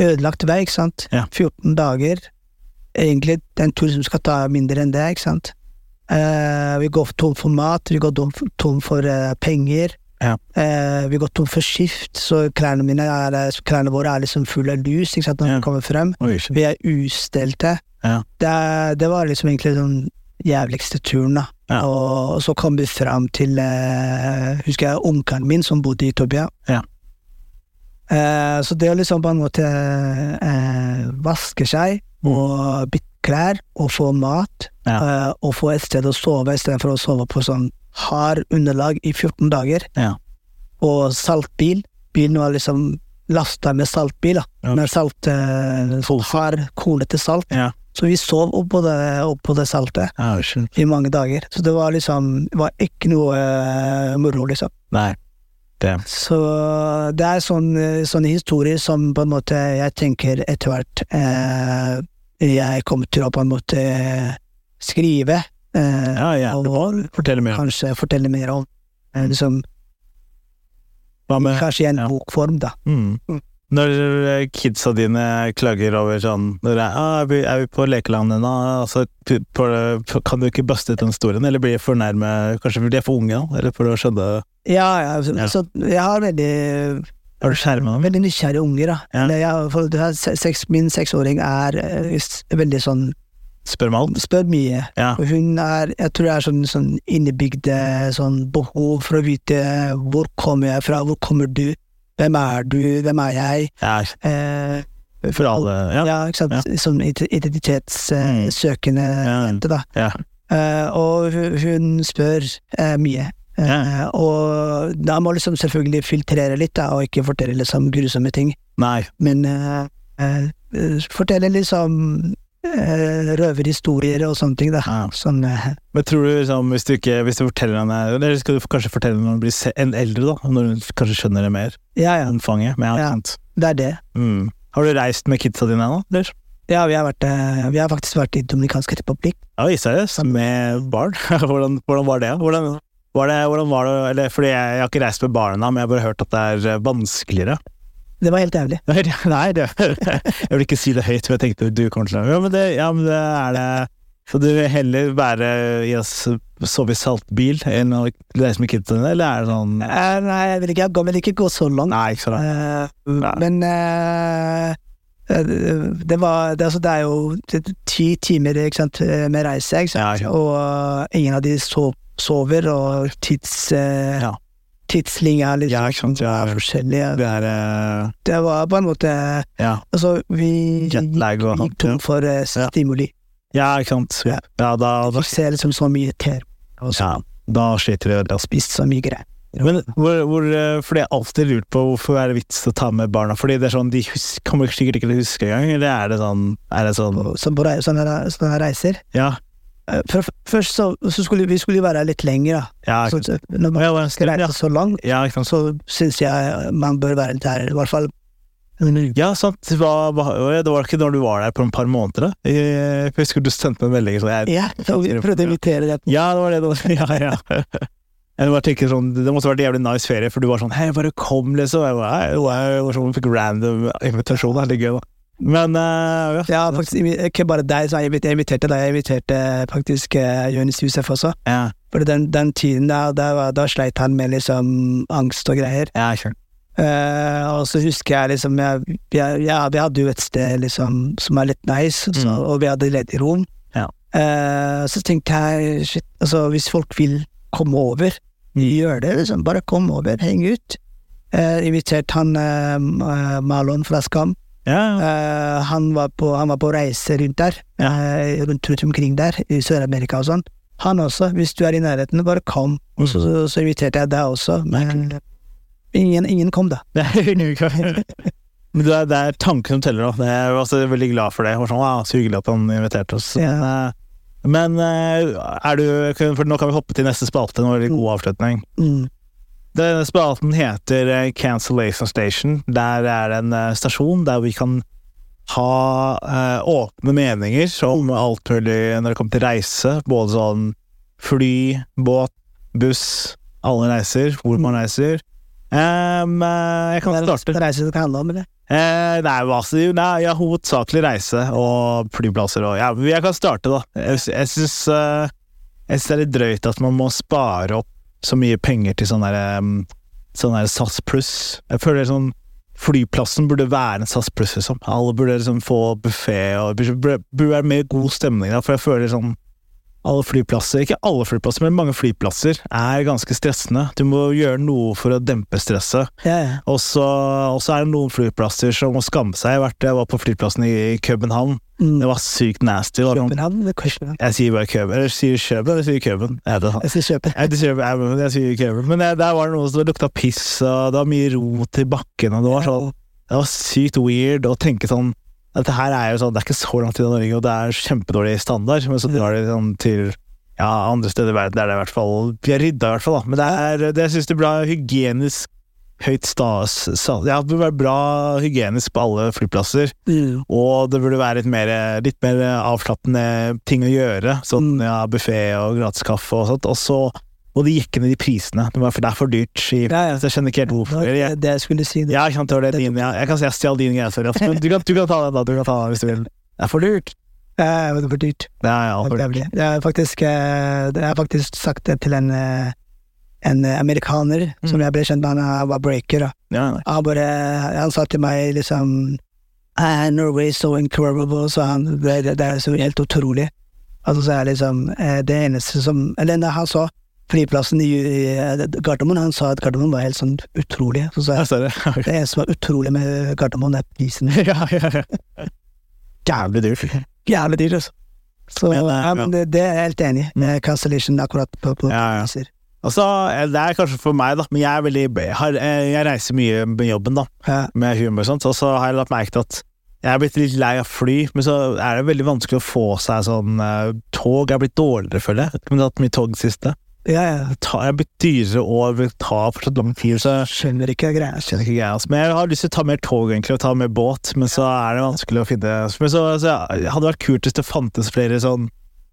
B: ødelagt vei, ikke sant?
A: Ja.
B: 14 dager. Egentlig det er en tur som skal ta mindre enn det, ikke sant? Eh, vi går tom for mat, vi går tom for, tom for eh, penger.
A: Ja.
B: Eh, vi går tom for skift, så klærne, mine er, eh, klærne våre er liksom fulle av lus ikke sant, når
A: Ja.
B: vi kommer frem.
A: Oi,
B: Vi er ustelte.
A: Ja.
B: Det, er- det var liksom egentlig den jævligste turen, da.
A: Ja.
B: Og, og så kom vi fram til eh, Husker jeg onkelen min som bodde i Tobia.
A: Ja.
B: Eh, så det å liksom på en måte eh, vaske seg og bytte klær og få mat
A: Mm. Ja.
B: eh, og få et sted å sove istedenfor å sove på sånn hard underlag i 14 dager
A: Ja.
B: og saltbil. Bilen var liksom lasta med saltbil, da.
A: Ja.
B: med salt, eh, sånn hard kone til salt.
A: Ja.
B: Så vi sov oppå det, oppå det saltet
A: Ja, unnskyld.
B: i mange dager. Så det var liksom det var ikke noe eh, moro, liksom.
A: Nei. Det.
B: Så det er sånn, eh, sånne historier som på en måte jeg tenker etter hvert eh, jeg kommer til å på en måte eh, skrive. Eh,
A: Ja, ja.
B: Og
A: Fortell mer. Mm.
B: kanskje fortelle mer om. Eh, liksom,
A: Hva med
B: kanskje i en
A: ja.
B: bokform, da.
A: mm. Når eh, kidsa dine klager over sånn når det er, ah, er, vi, 'Er vi på lekeland ennå?' Altså, p- på, på, kan du ikke buste ut den historien, eller blir de for nærme Kanskje de er for unge, da? eller for å skjønne
B: Ja, ja, så,
A: Ja.
B: så jeg har veldig,
A: Har du skjerma dem?
B: veldig nysgjerrige unger, da.
A: Ja.
B: Eller Jeg, for, det er se- seks, min seksåring er eh, s- veldig sånn
A: Spør meg alt.
B: Spør mye.
A: Ja.
B: Og Hun er Jeg tror det er sånn, sånn innebygde sånn behov for å vite hvor kommer jeg fra, hvor kommer du, hvem er du, hvem er jeg?
A: Ja,
B: Eh,
A: for alle. Ja.
B: ja, ikke sant.
A: Ja.
B: Sånn
A: Mm.
B: identitetssøkende
A: Ja.
B: jente, da.
A: Ja.
B: Eh, og hu- hun spør eh, mye. Eh,
A: Ja.
B: og da må liksom selvfølgelig filtrere litt, da, og ikke fortelle liksom grusomme ting.
A: Nei.
B: Men eh, eh, fortelle liksom eh, røverhistorier og sånne ting, da.
A: Ja.
B: Sånn, eh,
A: Men tror du liksom, hvis du ikke hvis du forteller henne Eller skal du kanskje fortelle henne når hun blir se- en eldre, da? Når hun kanskje skjønner det mer?
B: ja, ja.
A: Omfanget? Men ja,
B: Ja.
A: sant.
B: Det er det.
A: Mm. Har du reist med kidsa dine ennå? eller?
B: Ja, vi har, vært, eh, vi har faktisk vært i Dominikansk republikk.
A: Oi, seriøst? Med barn? hvordan, hvordan var det? Hvordan var det, hvordan var det eller, Fordi jeg, jeg har ikke reist med barn ennå, men jeg har bare hørt at det er eh, vanskeligere.
B: Det var helt jævlig.
A: Nei, det- Nei, det, jeg vil ikke si det høyt, men jeg tenkte du kommer til å Ja, men det, ja, men det er det Så du vil heller være i å s- sove i saltbil enn å reise med kidsa dine, eller er det sånn
B: Eh, nei, jeg vil ikke, jeg går- vil ikke gå så langt.
A: Nei, ikke sant?
B: Eh, Men eh, eh, det, var, det, altså, det er jo t- ti timer ikke sant, eh, med reise, ikke sant?
A: Ja, ja.
B: og eh, ingen av de sov, sover, og tids, eh,
A: Ja.
B: tidslinja er litt
A: Ja, ikke sant, ja.
B: er forskjellig.
A: Det er eh,
B: Det var på en måte
A: Ja.
B: Altså, vi gikk
A: Jetlag og
B: gikk tom for eh,
A: Ja.
B: stimuli.
A: Ja, ikke sant. Ja,
B: Ja.
A: da, da,
B: Fikk se liksom så mye TV, og
A: ja,
B: så
A: da sliter du. Altså.
B: spist så mye greier.
A: Men hvor, hvor, eh, fordi jeg har alltid lurt på hvorfor er det vits å ta med barna? Fordi det er sånn, De hus- kommer sikkert ikke til å huske engang, eller er det sånn, er det sånn
B: Så på rei- sånne, sånne reiser
A: Ja.
B: Eh, for, Først så, så skulle vi skulle jo være litt lenger, da.
A: ja,
B: Så,
A: ikke sant.
B: så når
A: Å,
B: man
A: ja, det var en
B: skal
A: stund, ja.
B: reise så langt,
A: Ja, ikke sant.
B: så syns jeg man bør være der, i hvert fall en uke.
A: Ja, sant. Hva, hva, det var ikke når du var der på et par måneder? da? Jeg, jeg husker du sendte meg en melding. sånn, jeg-
B: Ja, så vi prøvde å invitere deg.
A: Ja, det var det. det var, ja, ja. Jeg bare tenker sånn, Det måtte vært en jævlig nice ferie, for du var sånn Hei, bare kom, liksom. Jeg bare, «Hei, wow, og så fikk random invitasjon. Det er litt gøy, da. Men eh, ja.
B: Ja, faktisk, invi- ikke bare deg, så jeg invit- jeg inviterte deg. Jeg inviterte faktisk eh, Jonis Josef også.
A: ja.
B: For den, den tiden da, da, var- da sleit han med liksom angst og greier.
A: Ja, sure.
B: Eh, og så husker jeg liksom jeg, jeg, ja, Vi hadde jo et sted liksom som er litt nice, så,
A: Mm.
B: og vi hadde ledig rom.
A: Ja.
B: Eh, så tenkte jeg shit, altså hvis folk vil komme over,
A: Mm.
B: gjør det, liksom. Bare kom over, heng ut. Uh, invitert han eh, M- eh, Marlon fra Skam.
A: ja, ja.
B: Eh, han, var på, han var på reise rundt der, eh, rundt, rundt omkring der, i Sør-Amerika og sånn.
A: Mm.
B: Han også, hvis du er i nærheten, bare kom. Så, så, så inviterte jeg deg også. Men Ingen, ingen kom, da.
A: Det er ingen uke. Men det er, det er tanken som teller nå. Det er jeg også veldig glad for det. Jeg var Sånn, ah, så hyggelig at han inviterte oss.
B: Ja.
A: Eh, Men eh, er du For nå kan vi hoppe til neste spalte. Nå er det en god avslutning.
B: Mm.
A: Denne spalten heter eh, Cancellation Station. Der er det en eh, stasjon der vi kan ha eh, åpne meninger om alt mulig når det kommer til reise. Både sånn fly, båt, buss, alle reiser, hvor man reiser. Em, eh, jeg kan
B: Det er-
A: starte.
B: det reiser det kan handle om, eller?
A: Eh, nei, hva sier du? Nei, ja, hovedsakelig reise og flyplasser og Ja, jeg kan starte, da. Jeg, jeg syns eh, jeg synes det er litt drøyt at man må spare opp så mye penger til sånn derre sånn der SAS pluss. Jeg føler sånn Flyplassen burde være en SAS pluss, liksom. Alle burde liksom få buffé og burde- burde burde være mer god stemning, da, for jeg føler sånn alle flyplasser, ikke alle flyplasser, men mange flyplasser, er ganske stressende. Du må gjøre noe for å dempe stresset.
B: Ja, ja.
A: Og så, og så er det noen flyplasser som må skamme seg. Jeg, har vært, jeg var på flyplassen i København.
B: Mm.
A: Det var sykt nasty. Det var noen-
B: København, det er København.
A: Jeg sier bare Køben, eller jeg sier Køben, eller jeg sier Køben. Er det
B: Jeg skal
A: jeg,
B: kjøpe.
A: jeg, sier- jeg, jeg sier Køben. Men jeg, der var det noe som lukta piss, og det var mye rot i bakken, og det var sånn Det var sykt weird å tenke sånn Dette her er jo sånn, det er ikke så langt unna Norge, og det er kjempedårlig standard, men så drar de sånn til ja, andre steder i verden er det i hvert fall Vi har rydda i hvert fall, da. Men det er, det jeg synes det blir bra hygienisk høyt stas sa- Ja, det burde være bra hygienisk på alle flyplasser.
B: Mm.
A: Og det burde være litt mer, litt mer avslappende ting å gjøre.
B: Mm.
A: Sånn ja, buffé og gratis kaffe og sånt. Og så må de jekke ned de prisene. Det må være- for det er for dyrt. i-
B: Ja, ja.
A: Så jeg skjønner ikke helt hvorfor.
B: Det
A: Jeg-
B: var det jeg skulle si. Det.
A: ja, ikke sant, det var det din, ja. Jeg kan si jeg stjal din greie, sorry. ass. Men du kan, du kan ta den da, du kan ta den hvis du vil. Det er for lurt.
B: Ja, Eh, det var dyrt.
A: Ja, ja, for
B: Det
A: lurt.
B: blir- Jeg har faktisk, eh, jeg har faktisk sagt det til en, eh, en eh, amerikaner
A: Mm.
B: som jeg ble kjent med, han eh, var breaker. da.
A: Ja, nei.
B: Han, bare, han sa til meg liksom «Ah, Norway is so incredible, så han, det, det- det er så helt utrolig. Altså, så er liksom eh, det eneste som Eller nei, han sa flyplassen i, i eh, Gardermoen, han sa at Gardermoen var helt sånn utrolig. Så sa
A: Ja,
B: jeg
A: sorry.
B: det eneste som er utrolig med Gardermoen, er prisen.
A: ja, ja, ja. Jævlig dyrt.
B: Jævlig dyrt, altså. Så,
A: Men, eh,
B: ja, men det, det er jeg helt enig i.
A: Mm.
B: Eh, Cancellation akkurat på, på
A: Ja, ja.
B: priser.
A: Altså, eh, det er kanskje for meg, da, men jeg, er veldig, jeg, har, eh, jeg reiser mye med jobben, da,
B: Ja.
A: med humor og sånt, og så har jeg lagt merke til at jeg er blitt litt lei av fly, men så er det veldig vanskelig å få seg sånn eh, Tog er blitt dårligere, føler jeg. Men jeg har hatt mye tog det siste.
B: Ja, ja.
A: Det tar- er blitt dyrere og det tar fortsatt lang tid, så
B: Skjønner ikke greia.
A: Jeg skjønner ikke greia, altså. Men jeg har lyst til å ta mer tog, egentlig, og ta mer båt, men så er det vanskelig å finne Men så, så hadde det vært kult hvis det fantes flere sånn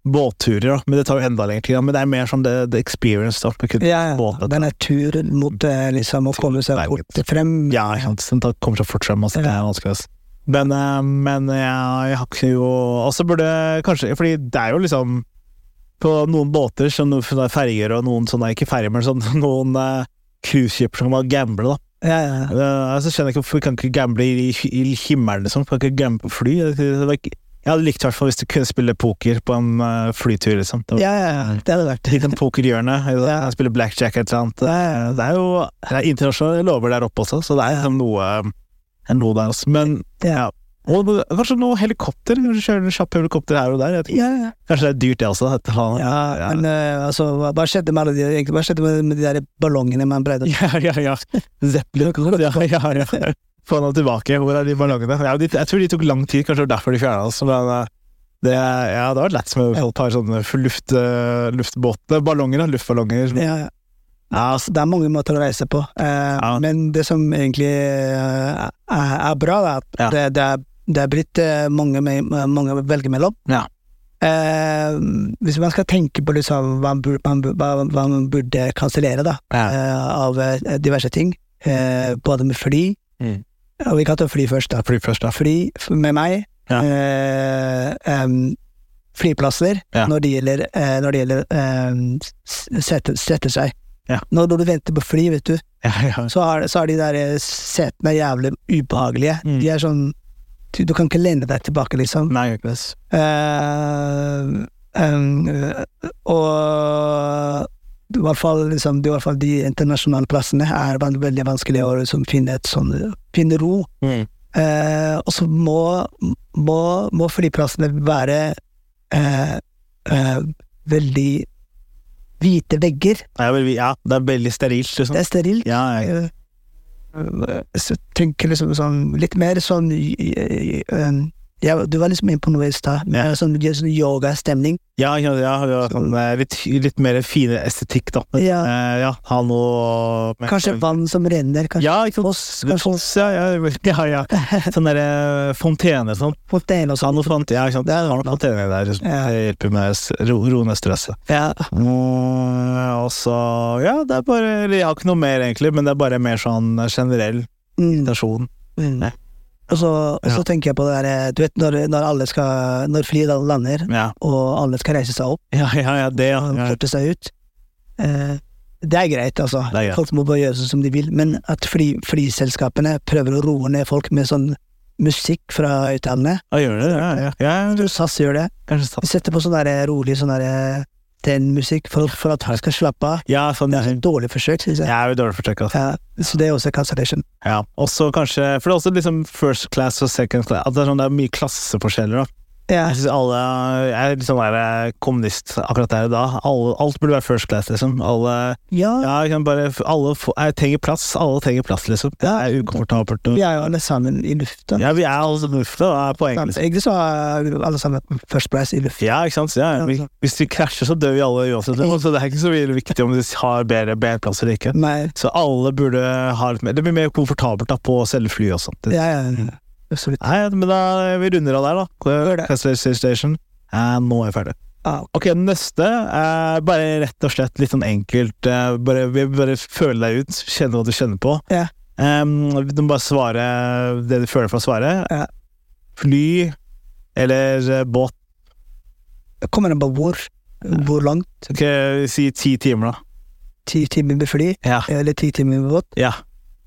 A: båtturer, da. Men det tar jo enda lengre tid, da. Men det er mer sånn the, the experience, da. Med kun
B: Ja, ja.
A: båt.
B: Den er turen mot eh, liksom, å komme seg
A: Nei,
B: fort frem.
A: Ja, ikke sant. Den tar- kommer seg fort frem, altså. Det er vanskelig, altså. Men, eh, men ja, jeg har ikke jo Og så burde kanskje Fordi det er jo liksom På noen båter, som noen sånne ferger og noen sånne Ikke ferger, men sånn noen eh, cruiseskip som kan gamble, da.
B: Ja, ja.
A: Uh, altså, skjønner jeg ikke hvorfor vi kan ikke gamble i, i himmelen, liksom. Kan ikke gamble på fly. Det- det- det var ikke- Jeg hadde likt i hvert fall hvis du kunne spille poker på en uh, flytur, liksom. Det var
B: ja, ja. Det hadde vært
A: litt sånn en pokerhjørne. eller jeg Spille blackjack eller et eller annet. Det, det er jo det er internasjonale lover der oppe også, så det er liksom noe, det er noe der også. Men ja. Og kanskje noe helikopter? Kanskje kjøre en kjapp helikopter her og der? Jeg vet ikke.
B: ja, ja.
A: Kanskje det er dyrt, det også? At, han-
B: ja,
A: ja.
B: men eh, altså, hva, hva skjedde med alle de, egentlig, hva skjedde med, med de der ballongene man breide?
A: Ja, ja, ja. Zeppelin. Ja, ja, ja. Få dem tilbake. Hvor er de ballongene? Ja, de, jeg tror de tok lang tid, kanskje det var derfor de fjerna oss. Men eh, det, er- ja, det var lett med et par sånne luft, eh, luftbåter, ballonger, da, luftballonger. som-
B: Ja, ja.
A: Ja, altså,
B: Det er mange måter å reise på, eh,
A: Ja.
B: men det som egentlig eh, er, er bra, er at
A: Ja.
B: det, det, er, det er blitt eh, mange, me- mange å velge mellom.
A: Ja.
B: Eh, hvis man skal tenke på liksom, hva, man burde, man, bur- hva, hva man burde kansellere, da,
A: ja.
B: eh, av eh, diverse ting. Eh, både med fly.
A: Mm.
B: Og vi kan ta fly først, da.
A: Fly først, da.
B: Fly f- med meg.
A: Ja.
B: Eh, em, flyplasser
A: Ja.
B: når det gjelder, eh, når det gjelder em, s- sette, sette seg.
A: Ja.
B: Når, når du venter på fly, vet du,
A: Ja, ja.
B: så er, så er de der eh, setene jævlig ubehagelige.
A: Mm.
B: De er sånn du, du kan ikke lene deg tilbake, liksom.
A: Nei, jeg gjør ikke det.
B: Eh, em, eh, og i hvert fall, liksom, i hvert fall de internasjonale plassene er van- veldig vanskelig å liksom, finne, et sånn, finne ro. Eh, og så må, må, må flyplassene være eh, eh, veldig hvite vegger.
A: Nei, jeg vil- ja, det er veldig sterilt, liksom.
B: Det er sterilt.
A: Ja, ja.
B: Eh, så tenker liksom sånn litt mer sånn um, ja, Du var liksom inne på noe i stad,
A: Ja.
B: med sånn, sånn yogastemning.
A: Ja, ja, ja, ja
B: Sånn.
A: eh, litt, litt mer fine estetikk, da.
B: Ja.
A: Eh, ja ha noe med-
B: Kanskje vann som renner, kanskje
A: Ja, ikke sant.
B: foss,
A: Det-
B: kanskje
A: foss, ja, ja, ja, ja. Sånn derre fontene og sånn.
B: fontene og
A: Ja,
B: sånn.
A: noe sånt. Ja, ikke sant. Det er noen fontene der som
B: Ja.
A: hjelper med s- ro, ro ned stresset.
B: Ja.
A: Mm, og så Ja, det er bare eller Jeg har ikke noe mer, egentlig, men det er bare mer sånn generell
B: Mm.
A: meditasjon.
B: Mm. Og så, og så
A: Ja.
B: tenker jeg på det der eh, Du vet når, når alle skal Når flyet da lander,
A: Ja,
B: og alle skal reise seg opp
A: ja, ja, ja det, ja.
B: og
A: ja.
B: flytte seg ut eh, Det er greit, altså.
A: Det er greit.
B: Folk må bare gjøre sånn som de vil. Men at fly, flyselskapene prøver å roe ned folk med sånn musikk fra utlandet
A: Ja, gjør det? Ja, ja. ja du,
B: SAS gjør det.
A: kanskje sa-
B: De setter på sånn der rolig sånn der trendmusikk for, for at folk skal slappe av.
A: Ja, sånn.
B: Det er et dårlig forsøk, synes jeg.
A: Jeg er jo dårlig forsøkt, altså.
B: Ja, så det er også cancellation.
A: Ja, også kanskje For det er også liksom first class og second class At det er, sånn, det er mye klasseforskjeller da
B: Ja,
A: Jeg synes alle Jeg er litt sånn der kommunist akkurat der og da alle, Alt burde være first class liksom Alle
B: ja,
A: Ja, jeg kan bare alle, få- Jeg trenger plass Alle trenger plass liksom Det er ukomfortabelt
B: vi
A: og-
B: er jo alle sammen i lufta.
A: Ja, vi er alle sånn lufta Det er poenget liksom
B: Egentlig så er vi alle sammen first price i lufta.
A: ja, ikke sant? Ja, vi, hvis vi krasjer, så dør vi alle uansett. liksom. Så det er ikke så veldig viktig om vi har bedre bedreplass eller ikke.
B: Nei,
A: Så alle burde ha litt mer... Det blir mer komfortabelt da, på selve flyet og sånt. Det-
B: ja, ja, absolutt.
A: Nei, men da vi runder av der, da.
B: Gjør det.
A: Cancellation Station. Eh, nå er jeg ferdig.
B: Ah,
A: Ok, den neste er bare rett og slett litt sånn enkelt. eh, bare, vi bare føle deg ut, kjenne hva du kjenner på.
B: Ja.
A: Em, du må bare svare det du føler for å svare.
B: Ja.
A: Fly eller eh, båt.
B: Kommer an på hvor. Hvor langt.
A: Ok, si ti timer, da.
B: Ti timer med fly,
A: Ja.
B: eller ti timer med båt.
A: ja.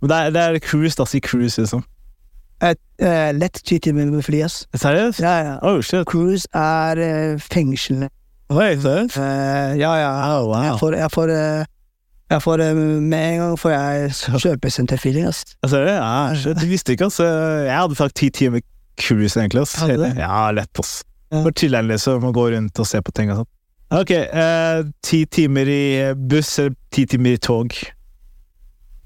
A: Men det er, det er cruise, da. Si cruise, liksom.
B: Eh, lett ti timer med fly, ass.
A: Seriøst?
B: Ja, ja.
A: Oh, shit.
B: Cruise er eh, fengslene.
A: Oi, seriøst?
B: Eh, ja, ja.
A: Oh, wow.
B: Jeg får, jeg får, eh, jeg får eh, Med en gang får jeg kjøpesenterfeeling, ass.
A: Altså, ja, shit, du visste ikke, altså. Jeg hadde sagt ti timer cruise, egentlig. Ass.
B: Hadde det?
A: Ja, lett, ass.
B: Ja.
A: For chiller'n, liksom. Å gå rundt og se på ting og sånn. Ok, eh, ti timer i buss eller ti timer i tog?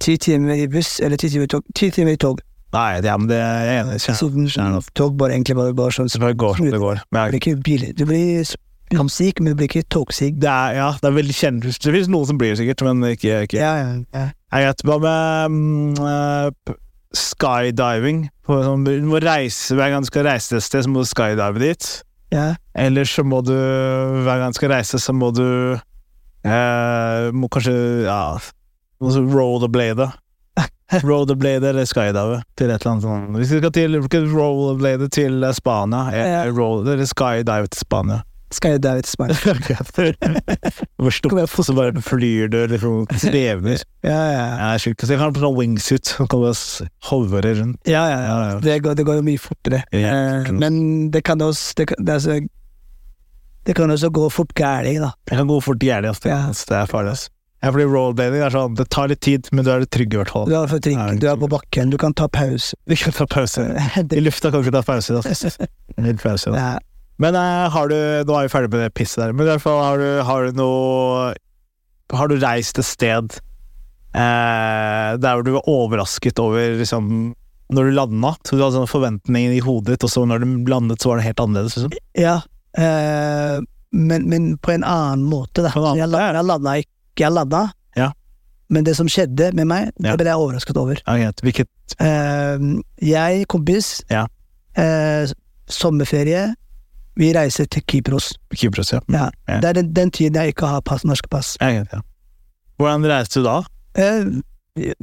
B: Ti timer i buss, eller ti timer i tog. Ti timer i tog.
A: Nei, ja, men det jeg er enig.
B: Så,
A: Kjære, kjære, ass.
B: tog bare egentlig bare, bare sånn.
A: Så det bare går som det går.
B: Du
A: Men
B: blir
A: jeg,
B: ikke bil... Du blir kamsik, men du blir ikke togsyk.
A: det er, ja, det er veldig kjent. Det finnes noen som blir sikkert, men ikke, ikke.
B: Ja, ja, ja.
A: Jeg vet hva med mm, eh, p- skydiving. På, sånn, du må reise, hver gang du skal reise et sted, så må du skydive dit.
B: ja.
A: Ellers så må du, hver gang du skal reise, så må du eh, må kanskje ja, må så rollerblade. Rollerblade eller skydive til et eller annet sånt. Hvis du skal til du skal rollerblade til eh, Spania, eh,
B: Ja.
A: roller, eller skydive til Spania
B: Skal jeg dø til smart?
A: Hvor stort så bare flyr du liksom svevner.
B: Ja, ja.
A: Ja, det er sjukt. Så jeg kan ha på sånn wingsuit som kan bare s- hovre rundt.
B: Ja, ja,
A: Ja, ja.
B: Det, går, det går jo mye fortere.
A: Ja,
B: Eh, men det kan også det kan, det, er så, det kan også gå fort gærlig, da.
A: Jeg kan gå fort jævlig, ass.
B: Ja.
A: Ass, Det er farlig, ass. Ja, fordi rollerblading er sånn, det tar litt tid, men du er litt trygg i hvert fall.
B: Du er, for trygg,
A: Ja,
B: du er på bakken, du kan ta pause.
A: Vi kan ta pause. I lufta kan vi ikke ta pause. Da. Litt pause da.
B: Ja.
A: Men eh, har du Nå er vi ferdig med det pisset der, men i hvert fall har du, har du noe Har du reist et sted eh, der hvor du var overrasket over liksom når du landa, så du hadde sånne forventninger i hodet ditt, og så når du landet, så var det helt annerledes. Liksom.
B: ja eh, men, men på en annen måte, da.
A: På en annen
B: Jeg, la- jeg landa ikke. Jeg landa.
A: Ja.
B: Men det som skjedde med meg, det
A: Ja.
B: ble jeg overrasket over.
A: Ja, greit. Hvilket
B: Eh, jeg, kompis,
A: Ja.
B: eh, sommerferie, vi reiser til Kypros.
A: Kypros, ja.
B: Ja.
A: Mm, Ja.
B: Det er den, den tiden jeg ikke har pass, norske pass.
A: ja, greit, ja. Hvordan reiste du da?
B: Eh,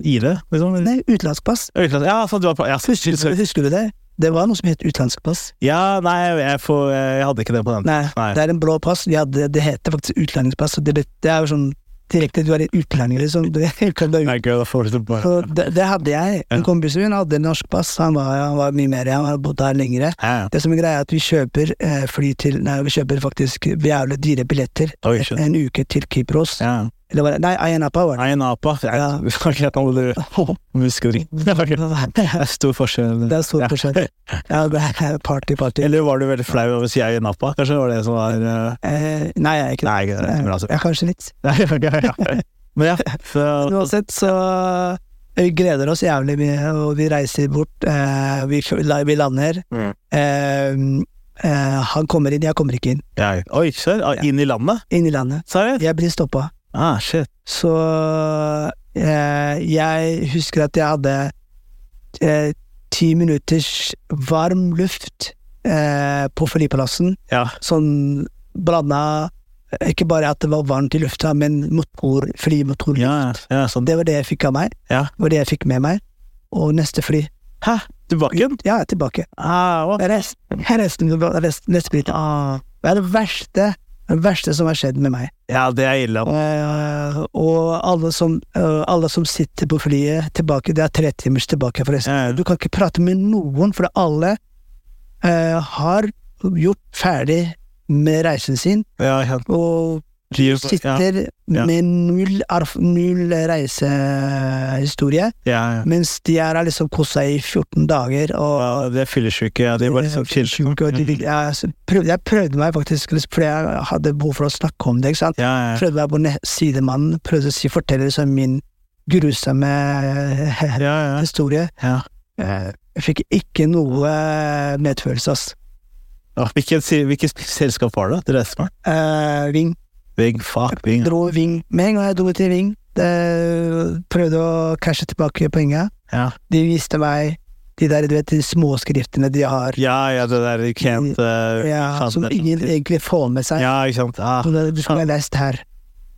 A: I det, liksom? eller?
B: Nei, utenlandsk pass.
A: Øyeklasse. Ja, sant, du var på ja,
B: Husker,
A: sorry.
B: husker du det? Det var noe som het utenlandsk pass.
A: ja, nei, jeg, får, jeg hadde ikke det på den.
B: Nei,
A: Nei.
B: det er en blå pass. Ja, det, det heter faktisk utlendingspass. og Det, bet- det er jo sånn direkte du er en utlending, liksom. Du, kan du,
A: Nei, gud, da får du det bare.
B: så det, det hadde jeg. En
A: Ja.
B: kompis min hadde norsk pass. Han var, han var mye mer, han hadde bodd her lengre.
A: Ja, ja.
B: Det som er greia, er at vi kjøper eh, fly til Nei, vi kjøper faktisk jævlig dyre billetter
A: Oi, shit.
B: en uke til Kypros.
A: Ja.
B: Eller var det Nei, Ayanapa var det.
A: Nei, Napa. Jeg
B: Ja.
A: jeg kan ikke hete noe du om du husker det. Det er ikke- det er stor forskjell.
B: Det er stor
A: Ja.
B: forskjell. Ja, det er party, party.
A: Eller var du veldig flau over å si jeg i Napa? Kanskje det var det som var eh,
B: eh, nei, jeg er ikke det.
A: Nei, ikke det. Men altså.
B: Ja, kanskje litt.
A: Nei, ja, ja, ja. Men ja, så,
B: Uansett, så eh, Vi gleder oss jævlig mye, og vi reiser bort. eh, vi, kjø- la- vi lander.
A: Mm.
B: Eh, eh, han kommer inn, jeg kommer ikke inn.
A: Ja. Oi, serr? Ah, Inn i landet?
B: Inn i landet.
A: Seriøst?
B: Jeg blir stoppa.
A: Ah, shit.
B: Så eh, jeg husker at jeg hadde eh, ti minutters varm luft eh, på flyplassen.
A: Ja.
B: Sånn blanda Ikke bare at det var varmt i lufta, men motor, flymotorluft.
A: Ja, ja, sånn.
B: Det var det jeg fikk av meg.
A: Ja.
B: Det var det jeg fikk med meg. Og neste fly
A: Hæ? Tilbake igjen?
B: Ja, tilbake.
A: Ah, hva?
B: Rest, resten, resten, neste fly ah, Det er det verste, det verste som har skjedd med meg.
A: Ja, det er ille.
B: Eh, og alle som, eh, alle som sitter på flyet tilbake, det er tre timers tilbake forresten.
A: Ja, ja.
B: Du kan ikke prate med noen, for alle eh, har gjort ferdig med reisen sin,
A: Ja, ja.
B: og
A: Gir- Ja,
B: sitter
A: Ja.
B: med null, erf- null reisehistorie,
A: ja, ja.
B: mens de er liksom kosa i 14 dager, og
A: Ja, det er fyllesyke. Ja, det er bare sånn chill.
B: Sjuk, og de- de- jeg, så prøvde, jeg prøvde meg faktisk, liksom, fordi jeg hadde behov for å snakke om det, ikke sant?
A: Ja, ja.
B: prøvde meg på ne- sidemannen, prøvde å si, fortelle liksom min grusomme eh,
A: Ja, ja.
B: historie.
A: ja.
B: Eh, Jeg fikk ikke noe eh, medfølelse, ass.
A: Ah, Hvilket, si- hvilket selskap var det? Det reiste meg.
B: Eh, Ving.
A: Ving, fuck, Ving.
B: Dro Ving. Med en gang jeg dro til Ving, eh, prøvde å cashe tilbake penger.
A: Ja,
B: De viste meg de der, du vet, de småskriftene de har,
A: ja, ja det der you can't uh,
B: ja,
A: can't-
B: som ingen egentlig får med seg.
A: Ja, ikke sant. Ah,
B: Sånn at Du skulle ha lest her.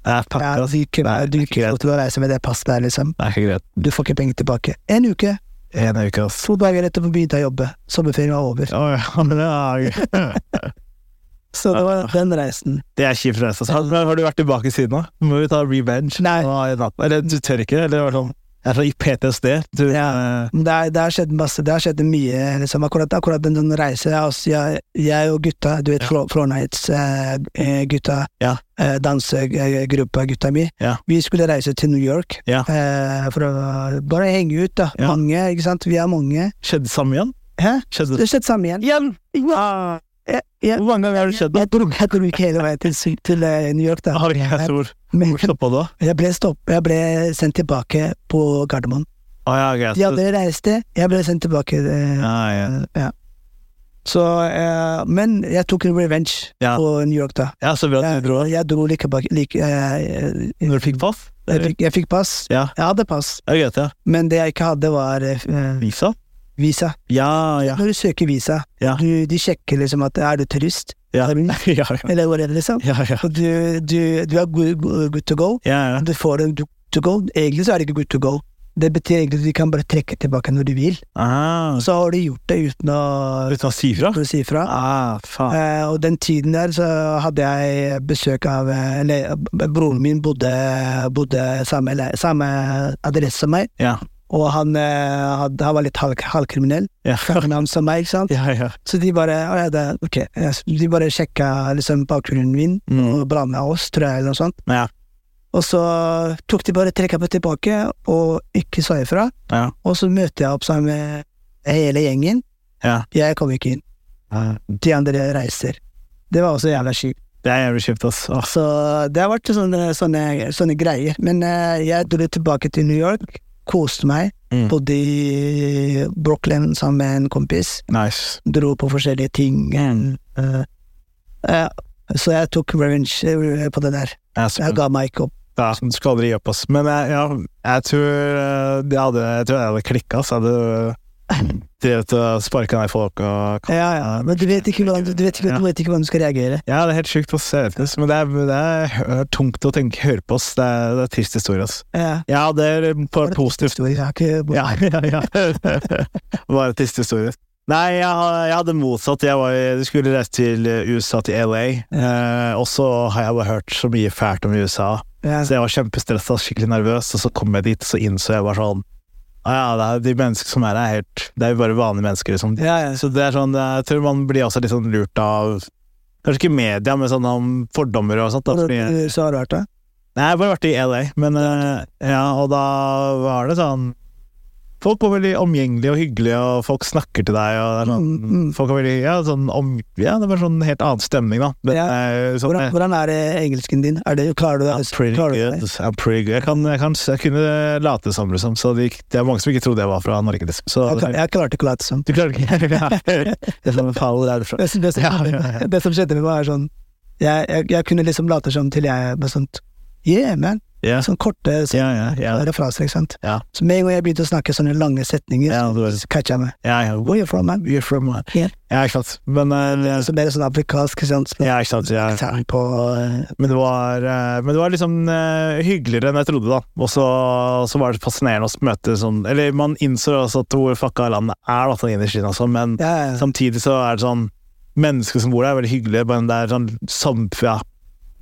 A: ja, pakker,
B: Ja,
A: altså.
B: du kunne
A: det er
B: du
A: ikke
B: kunne
A: greit.
B: fått lov til å reise med det passet der, liksom.
A: Det er ikke greit.
B: Du får ikke penger tilbake. En uke,
A: En uke, ass.
B: to dager etterpå begynte jeg å jobbe. Sommerferien var over.
A: Å, ja, men det er-
B: Så det var den reisen.
A: Det er kjipt reise. Altså. Men Har du vært tilbake siden da? Må vi ta revenge?
B: Nei.
A: Nå er det natt. Eller du tør ikke? Eller var det sånn Jeg er sånn i PTSD. Du, eh,
B: Men Det, er- det har skjedd masse, det har skjedd mye. Liksom. Akkurat, akkurat den, den reisen jeg, altså, jeg, jeg og gutta, du vet Flo- Floor Nights-gutta,
A: Ja.
B: eh, dansegruppa, gutta mi,
A: Ja.
B: vi skulle reise til New York
A: Ja.
B: eh, for å bare henge ut. da.
A: Ja.
B: Mange, ikke sant? Vi er mange.
A: Skjedde det samme igjen? Hæ? Skjedde
B: Det har skjedd samme igjen.
A: Igjen! Ah,
B: Jeg, jeg,
A: hvor mange ganger har det skjedd? da?
B: jeg, dro, jeg dro ikke hele veien til, Sy- til eh, New York, da.
A: Har jeg tror.
B: Men
A: Hvor stoppa du da?
B: jeg ble, stopp, jeg ble sendt tilbake på Gardermoen.
A: Å ja, greit.
B: De andre reiste, jeg ble sendt tilbake. Eh,
A: Ja, ja.
B: Ja. Så, eh, men jeg tok en revenge
A: Ja.
B: på New York da.
A: ja, så bra at
B: Jeg
A: du dro.
B: dro, jeg dro like bak like, eh, eh,
A: Når du fikk pass?
B: jeg, fikk, jeg fikk pass.
A: Ja.
B: Jeg hadde pass,
A: Ja, greit, ja.
B: men det jeg ikke hadde, var eh,
A: Visa?
B: visa.
A: Ja, ja.
B: Når du søker visa,
A: Ja.
B: du, de sjekker liksom at er du turist,
A: Ja, ja. ja,
B: eller hva det er, liksom.
A: ja, ja.
B: Og du, du, du er good, good to go.
A: ja, ja.
B: Du får en good to go. Egentlig så er det ikke good to go. Det betyr egentlig at de kan bare trekke tilbake når du vil.
A: Ah,
B: Så har de gjort det uten å,
A: uten å si fra?
B: uten å si ifra.
A: Ah, faen.
B: Eh, og den tiden der så hadde jeg besøk av eh, Eller b- broren min bodde, bodde samme, eller, samme adresse som meg,
A: Ja.
B: og han, eh, hadde, han var litt halv, halvkriminell.
A: Ja,
B: Samme navn som meg, ikke sant.
A: ja. ja.
B: Så de bare å, ja, det, ok, ja, så de bare sjekka liksom, bakgrunnen min
A: Mm.
B: og blanda oss, tror jeg, eller noe sånt.
A: Ja.
B: Og så tok de bare trekka meg tilbake og ikke sa ifra.
A: Ja.
B: Og så møter jeg opp sammen med hele gjengen.
A: Ja.
B: Jeg kom ikke inn.
A: Ah,
B: De andre reiser. Det var også jævla sjukt.
A: Det er jævlig kjipt, ass. Ah,
B: Så det har vært sånne, sånne, sånne greier. Men eh, jeg dro tilbake til New York, koste meg,
A: Mm.
B: bodde i Brooklyn sammen med en kompis,
A: nice.
B: dro på forskjellige ting.
A: Mm.
B: eh, eh, så jeg tok revenge eh, på det der.
A: Ja, så-
B: Jeg ga meg ikke opp.
A: Ja, du skal aldri gi opp, ass. Men jeg, ja, jeg tror eh, det hadde, jeg tror jeg hadde klikka, så jeg hadde eh, drevet og sparka ned folk og
B: Ja, ja. Men du vet ikke hvordan du, du, vet ikke, du, vet ikke hvordan du skal reagere.
A: Ja, det er helt sjukt, ass. Jeg vet ikke, ass. Men det er, det er hø- tungt å tenke, høre på, ass. Det er, det er trist historie, ass.
B: Ja.
A: Ja, det er eh, på
B: det
A: positivt.
B: Så jeg har ikke
A: Ja, ja, ja. Bare trist historie. Nei, jeg, ha- jeg hadde motsatt. Jeg var, jeg skulle reise til eh, USA, til LA, eh, og så har jeg bare hørt så mye fælt om USA.
B: ja.
A: Så jeg var kjempestressa, skikkelig nervøs, og så kom jeg dit, og så innså jeg bare sånn ah, ja, det er De menneskene som er her, er helt Det er jo bare vanlige mennesker, liksom.
B: Ja, ja.
A: Så det er sånn Jeg tror man blir også litt sånn lurt av Kanskje ikke media, men sånn om fordommer og sånt. Da,
B: Hvordan-
A: fordi,
B: Så har du vært der?
A: Nei, jeg har bare vært i LA, men eh, ja, og da var det sånn Folk var veldig omgjengelige og hyggelige, og folk snakker til deg. Og det er
B: Mm,
A: sånn, Folk er veldig, ja, sånn om, ja, det var sånn helt annen stemning, da. Men,
B: Ja.
A: eh, sånn,
B: Hvordan, hvordan er det engelsken din? Er det, klarer du det?
A: I'm pretty
B: klarer du
A: good.
B: det?
A: eh, I'm pretty good. Jeg, kan, jeg, kan, jeg kunne late som, liksom. Så det, gikk- det er mange som ikke trodde jeg var fra Norge. Liksom. Så,
B: Jeg, klar, jeg klarte ikke å late som.
A: Du klarer ikke ja. Det er sånn, faen, hvor er du fra?
B: Det, som- det, som,
A: Ja, ja, ja.
B: det som skjedde med meg, er sånn Jeg, jeg, jeg kunne liksom late som til jeg med sånt Yeah, man.
A: Ja,
B: Sånn korte sånn,
A: ja, ja. ja.
B: refraser, ikke sant.
A: Ja.
B: Så med en gang jeg begynte å snakke sånne lange setninger,
A: Ja, du er-
B: så catcha jeg meg.
A: ja, ja.
B: Where you from, man?
A: You're from uh,
B: Yeah.
A: Ja, ikke sant. Men, eh,
B: Så mer sånn afrikansk, ikke sant.
A: ja, Sånn ikke sant. Ja.
B: Tegn på eh,
A: Men det var, eh, men det var liksom eh, hyggeligere enn jeg trodde, da. Og så så var det fascinerende å møte sånn Eller man innså også at hvor fucka landet er, da, sånn innerst inne, altså, men
B: Ja, ja.
A: samtidig så er det sånn Mennesker som bor der, er veldig hyggelige, men det er sånn samf... Ja,